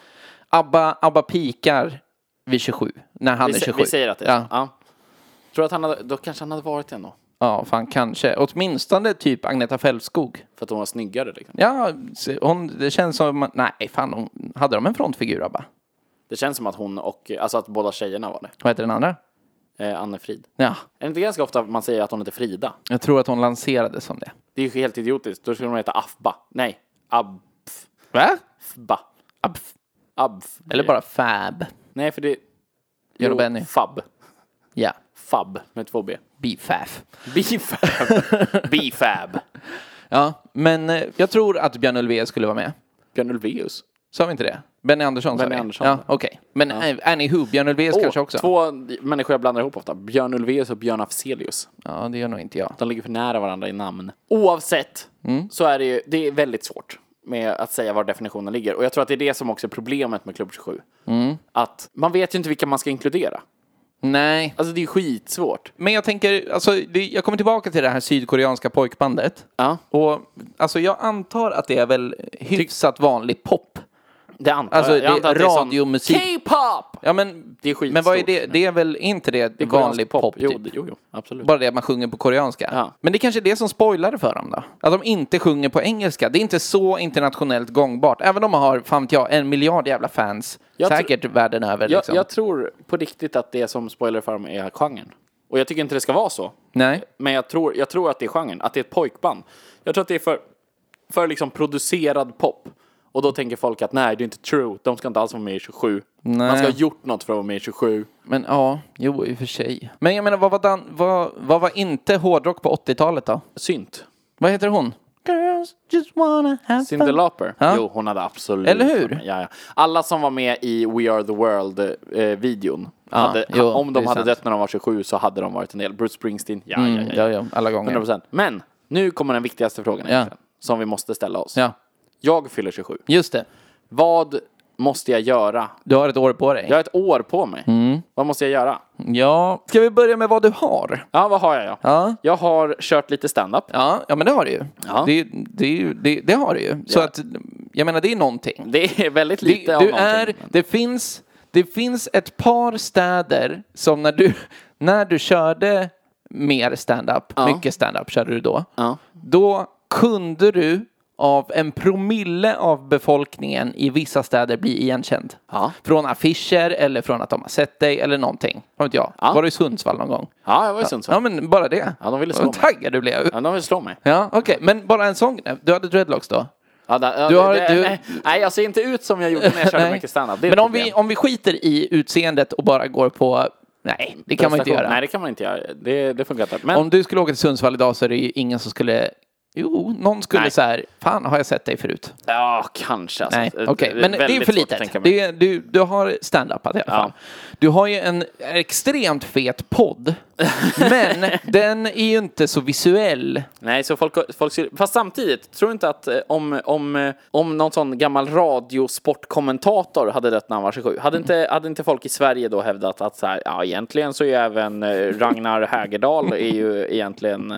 ABBA, ABBA pikar vid 27, när han Vi, är sä- 27. vi säger att det är Ja, så. ja. Tror du att han hade, då kanske han hade varit det ändå? ja, fan kanske. Åtminstone typ Agneta Fältskog. För att hon var snyggare liksom. Ja, se- hon, det känns som, nej fan, hon, hade de en frontfigur ABBA? Det känns som att hon och, alltså att båda tjejerna var det. Vad heter den andra? eh, Anne-Frid. Ja, Är det inte ganska ofta man säger att hon heter Frida? jag tror att hon lanserade som det. Det är ju helt idiotiskt. Då skulle hon heta Afba. Nej, Abf. Va? Fba. Abf. Abf. Eller bara Fab. Nej, för det... Gör Jo, och Benny. Fab. Ja, Fab med två B. Bifaf. <laughs> Bifab. Bifab. Ja, men eh, jag tror att Björn Ulvaeus skulle vara med. Björn Ulvaeus. Sa vi inte det? Benny Andersson sa Benny vi. Andersson. Ja, okej. Men eh, ja. anywho, Björn Ulvaeus kanske också? Två människor jag blandar ihop ofta. Björn Ulvaeus och Björn Afzelius. Ja, det gör nog inte jag. De ligger för nära varandra i namn. Oavsett Mm. så är det ju det är väldigt svårt med att säga var definitionen ligger. Och jag tror att det är det som också är problemet med Klubb 27. Mm. Att man vet ju inte vilka man ska inkludera. Nej, Alltså det är skitsvårt. men jag tänker, alltså, det, jag kommer tillbaka till det här sydkoreanska pojkbandet. Ja. Och alltså, jag antar att det är väl hyfsat vanlig pop. Det antar Alltså, jag. jag. det- antar att radiomusik. Det är sån... K-pop! Ja, men, Det är skitstort. men vad är det? Det är väl inte det, Det är koreansk vanlig pop? jo, typ? det- jo, jo, absolut. Bara det att man sjunger på koreanska. Ja. Men det kanske är det som spoilar för dem då? Att de inte sjunger på engelska. Det är inte så internationellt gångbart. Även om man har, fan vet jag, en miljard jävla fans. Jag tr- säkert världen över jag, liksom. jag tror på riktigt att det som spoiler för dem är genren. Och jag tycker inte det ska vara så. Nej. Men jag tror, jag tror att det är genren, att det är ett pojkband. Jag tror att det är för, för liksom producerad pop. Och då tänker folk att nej, det är inte true. De ska inte alls vara med i 27. Man ska ha gjort något för att vara med i 27. Men ja, jo i och för sig. Men jag menar, vad var, dan- vad, vad var inte hårdrock på 80-talet då? Synt. Vad heter hon? Girls just wanna have Cyndi fun. Lauper. Jo, hon hade absolut. Eller hur? Ja, ja. Alla som var med i We Are The World-videon. hade, jo, om de det är hade sant. Mm, dött när de var 27 så hade de varit en del. Bruce Springsteen, ja, ja, ja, ja. Ja, ja, alla gånger. 100%. Men nu kommer den viktigaste frågan egentligen, som vi måste ställa oss. Ja, Jag fyller 27. just det. Vad måste jag göra? Du har ett år på dig. Jag har ett år på mig. Mm. Vad måste jag göra? Ja. Ska vi börja med vad du har? Ja, vad har jag? Ja. Ja. Jag har kört lite standup. Ja, ja men det har du ju. Ja. Det, det, är ju- det, det har du ju. Så att, jag menar, det är någonting. Det är väldigt Det, lite av du någonting. är, det finns, det finns ett par städer som när du, när du körde mer stand-up, mycket stand-up körde du då, Ja. då kunde du av en promille av befolkningen i vissa städer bli igenkänd. Ja. Från affischer eller från att de har sett dig eller någonting. Vad vet jag? Var du i Sundsvall någon gång? Ja, jag var i Sundsvall. Ja, men bara det. Ja, de ville slå mig. taggad du blev. Ja, de vill slå mig. Ja, okej. Men bara en sång. Du hade dreadlocks då? Ja, där, ja, Du har- det, du- Nej, nej, jag ser inte ut som jag gjorde när jag körde Nej. mycket standup. Det är Men ett om vi, problem. om vi skiter i utseendet och bara går på... Nej, det kan man inte Prestation. göra. Nej, det kan man inte göra. Det, det funkar inte. Men Om du skulle åka till Sundsvall idag så är det ju ingen som skulle... Jo, någon skulle Nej. så här, fan har jag sett dig förut? ja, kanske. Alltså. Nej, okej, är men det är väldigt för svårt att tänka litet. mig. Det är, du, du har stand-upat i alla fall. Du har ju en extremt fet <laughs> podd, men den är ju inte så visuell. Nej, så folk, folk ser, fast samtidigt, tror du inte att eh, om, om, eh, om någon sån gammal radiosportkommentator hade dött när han var 27, hade, inte, hade inte folk i Sverige då hävdat att så här, ja, egentligen så är ju även eh, Ragnar Hägerdal är ju egentligen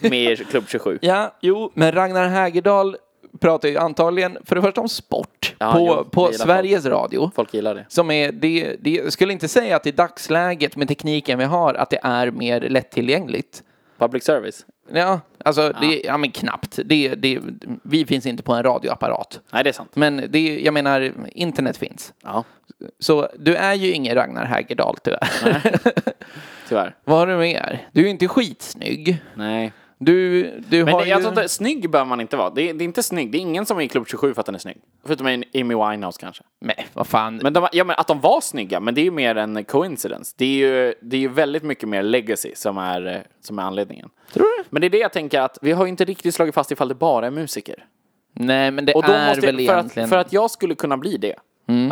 med i Klubb 27? Ja, jo, men Ragnar Hägerdal pratar ju antagligen för det första om sport Ja, på, jo, det på gillar Sveriges Radio. Folk gillar det. Som är, det, det, jag skulle inte säga att i dagsläget med tekniken vi har att det är mer lättillgängligt. Public service? Ja, alltså, Det, ja men knappt. Det, det, vi finns inte på en radioapparat. Nej, det är sant. Men det, jag menar, internet finns. Ja, Så du är ju ingen Ragnar Hägerdal tyvärr. tyvärr. <laughs> Vad har du mer? Du är ju inte skitsnygg. Nej. Du, du Men har det, jag ju... tror inte, snygg behöver man inte vara. Det, är- det är inte snygg. Det är ingen som är i Klubb 27 för att den är snygg. Förutom en Amy Winehouse kanske. Nej, vad fan. Men, de, ja, men att de var snygga, men det är ju mer en coincidence. Det är ju, det är ju väldigt mycket mer legacy som är, eh, som är anledningen. tror du? Men det är det jag tänker att vi har ju inte riktigt slagit fast ifall det bara är musiker. Nej, men det Och då är måste, väl för, egentligen... Mm. att, för att jag skulle kunna bli det,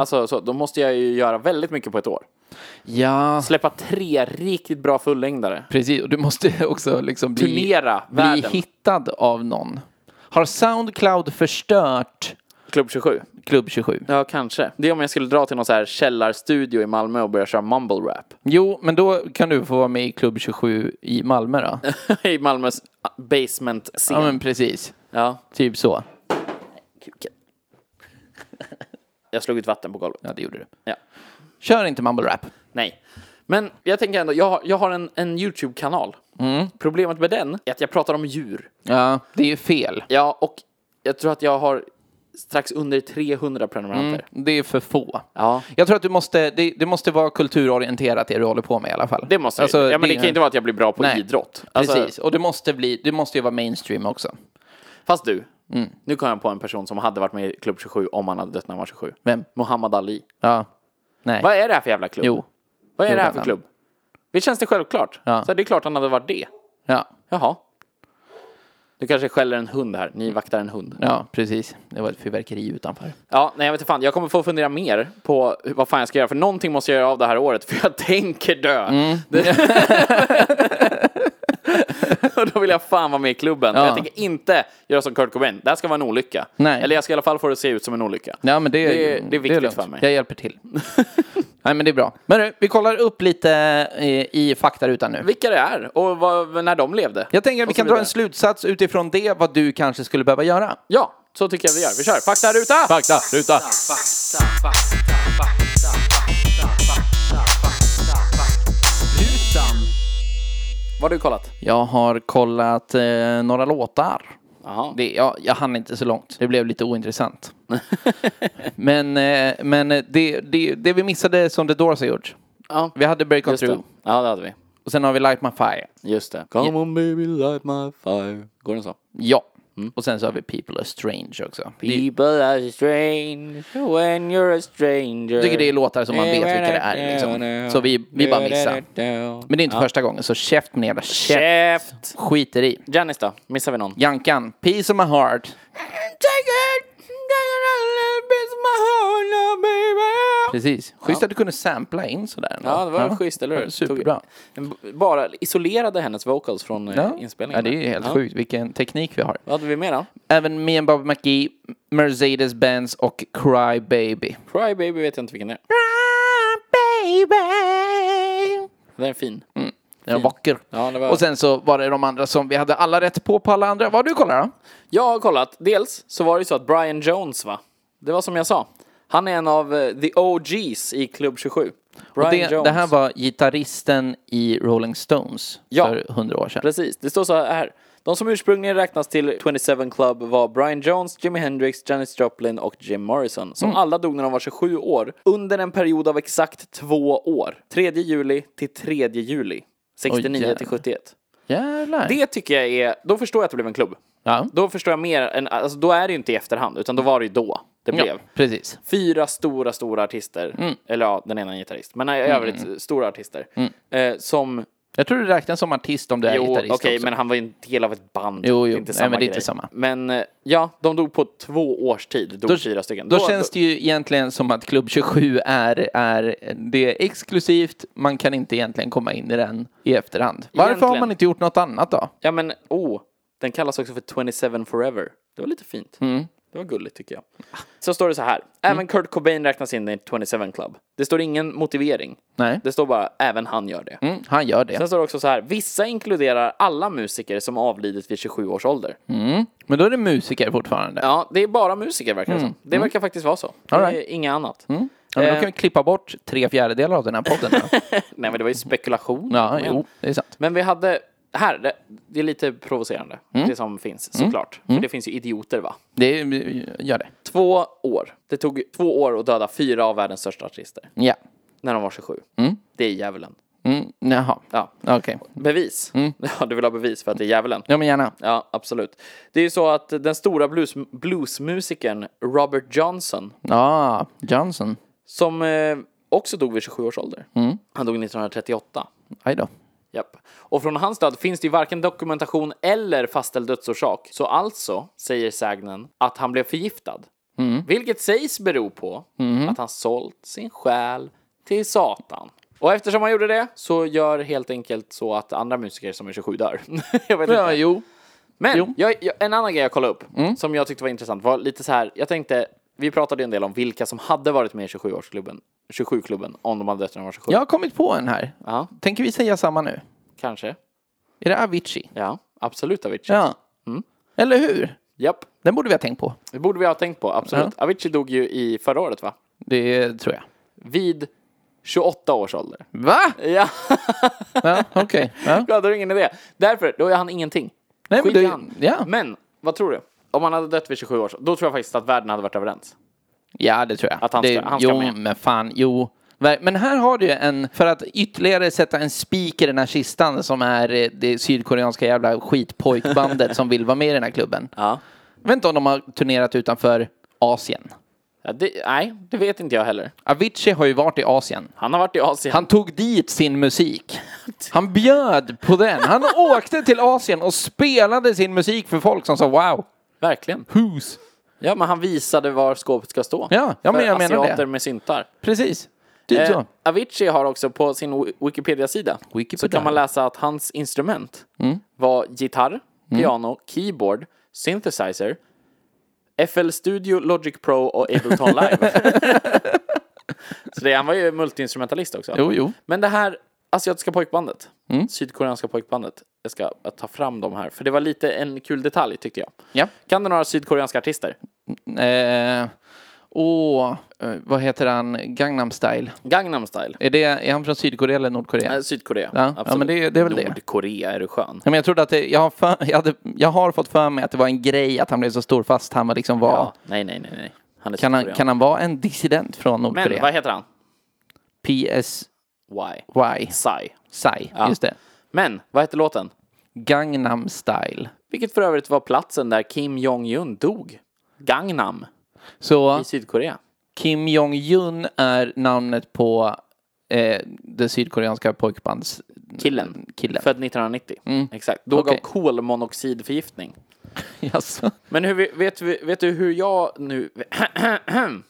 alltså, så, då måste jag ju göra väldigt mycket på ett år. Ja, Släppa tre riktigt bra fullängdare. precis. Och du måste <laughs> också liksom bli... Turnera bli världen. hittad av någon. Har Soundcloud förstört Klubb 27. Klubb 27? Ja, kanske. Det är om jag skulle dra till någon så här källarstudio i Malmö och börja köra mumble rap. <laughs> Jo, men då kan du få vara med i Klubb 27 i Malmö då. I Malmös basement-scen. Ja, men precis. ja. Typ så. Kuken. Jag slog ut vatten på golvet. Ja, det gjorde du. Ja. Kör inte mumble rap. Nej. Men jag tänker ändå, jag, har- jag har en, en YouTube-kanal. Mm. Problemet med den är att jag pratar om djur. Ja, det är ju fel. Ja, och jag tror att jag har strax under 300 prenumeranter. Det är för få. Ja. Jag tror att du måste, det, det måste vara kulturorienterat det du håller på med i alla fall. Det måste Alltså, jag ju. ja, men det, kan ju inte vara att jag blir bra på Nej. idrott. Alltså, Precis, och det måste, bli, det måste ju vara mainstream också. Fast du, Mm. nu kom jag på en person som hade varit med i Klubb 27 om han hade dött när han var 27. Vem? Muhammad Ali. Ja. Nej. Vad är det här för jävla klubb? Jo. Vad är det här Jo, för fan. klubb? Visst känns det självklart? Ja. Så det är klart han hade varit det. Ja. Jaha. Du kanske skäller en hund här. Ni vaktar en hund. ja, precis. Det var ett fyrverkeri utanför. Ja, nej jag vet inte fan. Jag kommer få fundera mer på hur- vad fan jag ska göra. För någonting måste jag göra av det här året. För jag <laughs> tänker dö. Mm. Det... <laughs> Och då vill jag fan vara med i klubben. Ja. Jag tänker inte göra som Kurt Cobain. Det här ska vara en olycka. Nej. Eller jag ska i alla fall få det att se ut som en olycka. Ja, men det, Det är- det är viktigt lugnt. för mig. Jag hjälper <laughs> till. Nej, men det är bra. Men du, vi kollar upp lite eh, i faktarutan nu. Vilka det är och vad, när de levde. Jag tänker att vi Och så kan dra vidare. en slutsats utifrån det, vad du kanske skulle behöva göra. Ja, så tycker jag vi gör. Vi kör. Fakta ruta! Fakta, ruta. Vad har du kollat? Jag har kollat eh, några låtar. Jaha. Det, jag, jag hann inte så långt. Det blev lite <laughs> ointressant. men eh, men det, det, det vi missade som The Doors har gjort. Ja, Vi hade Break On just det. Through Ja, det hade vi. och sen har vi Light My Fire. Just det. Come on baby light my fire. Går den så? Ja. Mm. Och sen så har vi People Are Strange också. Det- People are strange when you're a stranger. Jag Jag tycker det är låtar som man vet vilka det är liksom. Så vi, vi bara missar. Men det är inte första gången, så käft med jävla käft. Käft! Skiter i. Janis då? Missar vi någon? Jankan, Peace of My Heart. Precis. Schysst att du kunde sampla in sådär. ändå. Ja, det var schysst, eller hur? Superbra. Tog- Bara isolerade hennes vocals från eh, Ja. ja, inspelningen. det är ju helt Ja. sjukt vilken teknik vi har. Vad hade vi mer då? Även Me and Bobby McGee, Mercedes-Benz och Cry Baby. Cry Baby vet jag inte vilken det är. Mm. Cry Baby! Den är fin. Den var vacker. Ja, det var- Och sen så var det de andra som vi hade alla rätt på på alla andra. Vad har du kollar då? Jag har kollat. Dels så var det ju så att Brian Jones va? Det var som jag sa. Han är en av eh, the OGs i Klubb 27. Brian Det, Jones. det här var gitarristen i Rolling Stones Ja. för hundra år sedan. Precis, det står så här. De som ursprungligen räknas till 27 Club var Brian Jones, Jimi Hendrix, Janis Joplin och Jim Morrison. Som Mm. alla dog när de var 27 år. Under en period av exakt två år. 3 juli till 3 juli. 69 till jävlar. 71. Jävlar. Det tycker jag är, då förstår jag att det blev en klubb. Ja. Då förstår jag mer än, alltså då är det ju inte i efterhand, utan då var det ju då det blev. ja, Mm. precis. fyra stora, stora artister. Eller ja, den ena är en gitarrist. Men Mm, nej, i övrigt stora artister. Eh, som, Jag tror du räknas som artist om du är jo, gitarrist okej, också. men han var ju en del av ett band. Jo, jo. Det är Nej, Inte samma men det är inte grej. samma. Men eh, ja, de dog på två års tid. Dog Då- fyra stycken. Då, känns det ju egentligen som att Klubb 27 är, är det är exklusivt. Man kan inte egentligen komma in i den i efterhand. Varför har Egentligen. man inte gjort något annat då? Ja, men oh, den kallas också för 27 Forever. Det var lite fint. Mm. Det var gulligt tycker jag. Så står det så här. Även Kurt Cobain räknas in i 27 Club. Det står ingen motivering. Nej, Det står bara även han gör det. mm, han gör det. Sen står det också så här. Vissa inkluderar alla musiker som avlidit vid 27 års ålder. Mm. Men då är det musiker fortfarande. Ja. Ja, det är bara musiker verkar det som. Det verkar faktiskt vara så. Det Mm. All right. Mm. är inget annat. men eh. då kan vi klippa bort tre fjärdedelar av den här podden. då. Nej, men det var ju spekulation. ja, Men- jo, det är sant. Men vi hade, här, det, det är lite provocerande. Mm. Det som finns såklart. För det finns ju idioter va. Det gör det. Två år. Det tog två år att döda fyra av världens största artister. Ja. När de var 27. Det är djävulen. Mm, jaha, Ja. okej. Bevis. <laughs> Ja, du vill ha bevis för att det är djävulen. Mm. Ja, men gärna. Ja, absolut. Det är ju så att den stora blues, bluesmusikern Robert Johnson Ja, Johnson. Som eh, också dog vid 27 års ålder. Mm. Han dog 1938. Aj då. Japp. Och från hans död finns det ju varken dokumentation eller fastställd dödsorsak. Så alltså säger sägnen att han blev förgiftad. Mm. Vilket sägs bero på att han sålt sin själ till Satan. Och eftersom han gjorde det så gör helt enkelt så att andra musiker som är 27 dör. <laughs> jag vet Ja, inte. jo. Men Jo. Mm. Jag, jag, en annan grej jag kollade upp som jag tyckte var intressant var lite så här. Jag tänkte, vi pratade ju en del om vilka som hade varit med i 27-årsklubben 27-klubben om de hade dött när de var 27. Jag har kommit på en här. Ja. Tänker vi säga samma nu? Kanske. Är det Avicii? Ja, absolut Avicii. Ja. Eller hur? Japp. Den borde vi ha tänkt på. Det borde vi ha tänkt på, absolut. Avicii dog ju i förra året va? Det tror jag. Vid 28 års ålder. Va? Ja, Ja, okej. <laughs> Ja. då hade du ingen idé. Därför, då är han ingenting. Nej, men Skit i det- han. ja. Men, vad tror du? om han hade dött vid 27 års då tror jag faktiskt att världen hade varit överens. Ja, det tror jag. Att han det, ska- han ska jo, med. men fan, jo. Ver- Men här har du ju en, för att ytterligare sätta en spik i den här kistan som är eh, det sydkoreanska jävla skitpojkbandet som vill vara med i den här klubben. Ja. Jag vet inte om de har turnerat utanför Asien. det, nej, det vet inte jag heller. Avicii har ju varit i Asien. Han har varit i Asien. Han tog dit sin musik. Han bjöd på den. Han åkte till Asien och spelade sin musik för folk som sa wow, Verkligen. who's? Ja, men han visade var skåpet ska stå. Ja, ja, men För jag menar det. asiater med syntar. Precis. Typ Eh, så. Avicii har också på sin Wi- Wikipedia-sida så Wikipedia. Mm. kan man läsa att hans instrument var gitarr, piano, keyboard, synthesizer, FL Studio, Logic Pro och <laughs> Ableton Live. så det, han var ju multiinstrumentalist också. Jo, Mm. jo. Men det här asiatiska pojkbandet, sydkoreanska pojkbandet, jag ska ta fram dem här, för det var lite en kul detalj tyckte jag. Ja. Kan du några sydkoreanska artister? Eh, åh, eh, vad heter han? Gangnam style. Gangnam style. Är, det, är han från Sydkorea eller Nordkorea? Eh, Sydkorea. Ja, absolut. ja, men det- det är väl det. Nordkorea, är du skön? Ja, Men jag trodde att det, jag, har för, jag, hade, jag har fått för mig att det var en grej att han blev så stor fast han var liksom var... Ja. Nej, nej, nej. nej. Han är Kan, han, sydkorean. kan han vara en dissident från Men Nordkorea? vad heter han? PSY. Why? Psy. Psy, Ja. just det. Men vad heter låten? Gangnam style. Vilket för övrigt var platsen där Kim Jong-Un dog. Gangnam Så i Sydkorea. Kim Jong-Un är namnet på eh, det sydkoreanska pojkbands... <laughs> Killen. Killen. Mm. Född 1990. Exakt. Dog Okej. av kolmonoxidförgiftning. Jaså? Men hur, vi- vet, vi- vet du hur jag nu... <clears throat>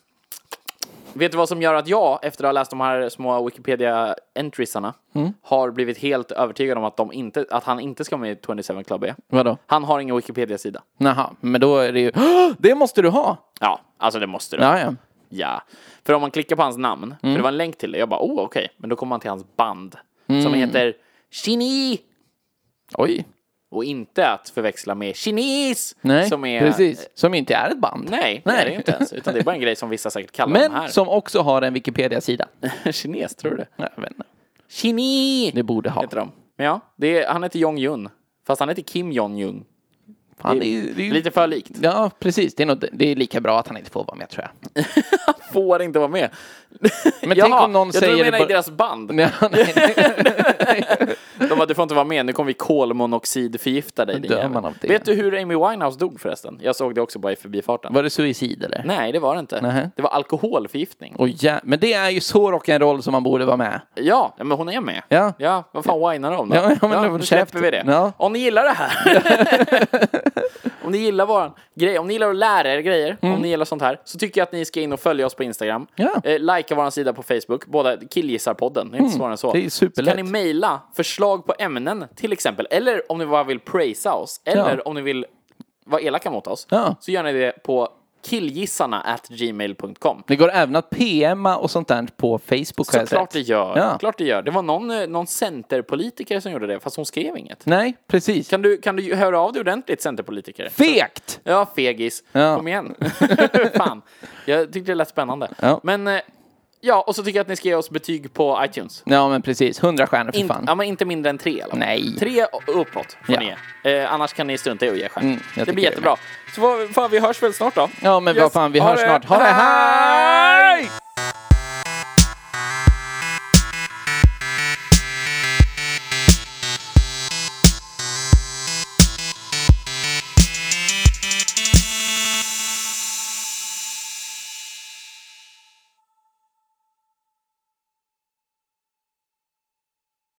vet du vad som gör att jag, efter att ha läst de här små Wikipedia-entriesarna, Mm. har blivit helt övertygad om att, de inte, att han inte ska med i 27 Club B? Vadå? Han har ingen Wikipedia-sida. Naha, men då är det ju... <gasps> Det måste du ha! Ja, alltså det måste du. Ja, Mm. ja. Ja. För om man klickar på hans namn, för det var en länk till det, jag bara oh okej, men då kommer man till hans band som Mm. heter Chini Oj. och inte att förväxla med Chinis Nej, som är... precis. Som inte är ett band. Nej, nej, det är ju inte ens, utan det är bara en grej som vissa säkert kallar dem <laughs> här. <laughs> Men som också har en Wikipedia-sida. Kines, tror du det? Nej, jag vet inte. Chini Det borde ha. heter de. Men ja, det är, han heter Jong-Jun, fast han heter Kim Jong-Jun. Fan, det är, ju- det är ju- Lite för likt. Ja, precis. Det är, nog, det är lika bra att han inte får vara med, tror jag. Får inte vara med. <laughs> Men Jaha, tänk om någon jag tror säger... du menar bara- i deras band. Nej, nej, nej. <laughs> De bara, du får inte vara med, nu kommer vi kolmonoxidförgifta dig. din Dör jävel." man av det? Vet du hur Amy Winehouse dog förresten? Jag såg det också bara i förbifarten. Var det suicid, eller? Nej, det var det inte. Nähä. Det var alkoholförgiftning. Åh, ja. Men det är ju så rock'n'roll som man borde vara med. Ja, men hon är med. Ja. ja vad fan whinar de om då? Ja, ja, men nu käft. släpper vi det. Ja. Om ni gillar det här. <laughs> om ni gillar våran grej, om ni gillar att lära er grejer, om ni gillar sånt här, så tycker jag att ni ska in och följa oss på Instagram. Mm. Ja. Eh, likea vår sida på Facebook, båda killgissarpodden, det är inte svårare än så. Mm. det är superlätt. Så kan ni mejla förslag på ämnen till exempel, eller om ni bara vill prisa oss, eller Ja. om ni vill vara elaka mot oss, Ja. så gör ni det på killgissarna@gmail.com. Det går även att PMa och sånt där på Facebook, har jag Såklart det sett. gör. Ja. Klart det gör. Det var någon, eh, någon centerpolitiker som gjorde det, fast hon skrev inget. Nej, precis. Kan du, kan du höra av dig ordentligt, centerpolitiker? Fegt! Ja, fegis. Ja. Kom igen. <laughs> Fan. Jag tyckte det lät spännande. Ja. Men, eh, ja, och så tycker jag att ni ska ge oss betyg på iTunes. Ja, men precis. Hundra stjärnor, för In, fan. ja, men inte mindre än tre. Eller? Nej. Tre och uppåt Ja. får Mm, ni ge. Eh, annars kan ni strunta i att ge stjärnor. jag det tycker blir det är jättebra. Så vad- fan, vi hörs väl snart då? Ja, men vad fan, vi hörs snart. Ha det! Hej!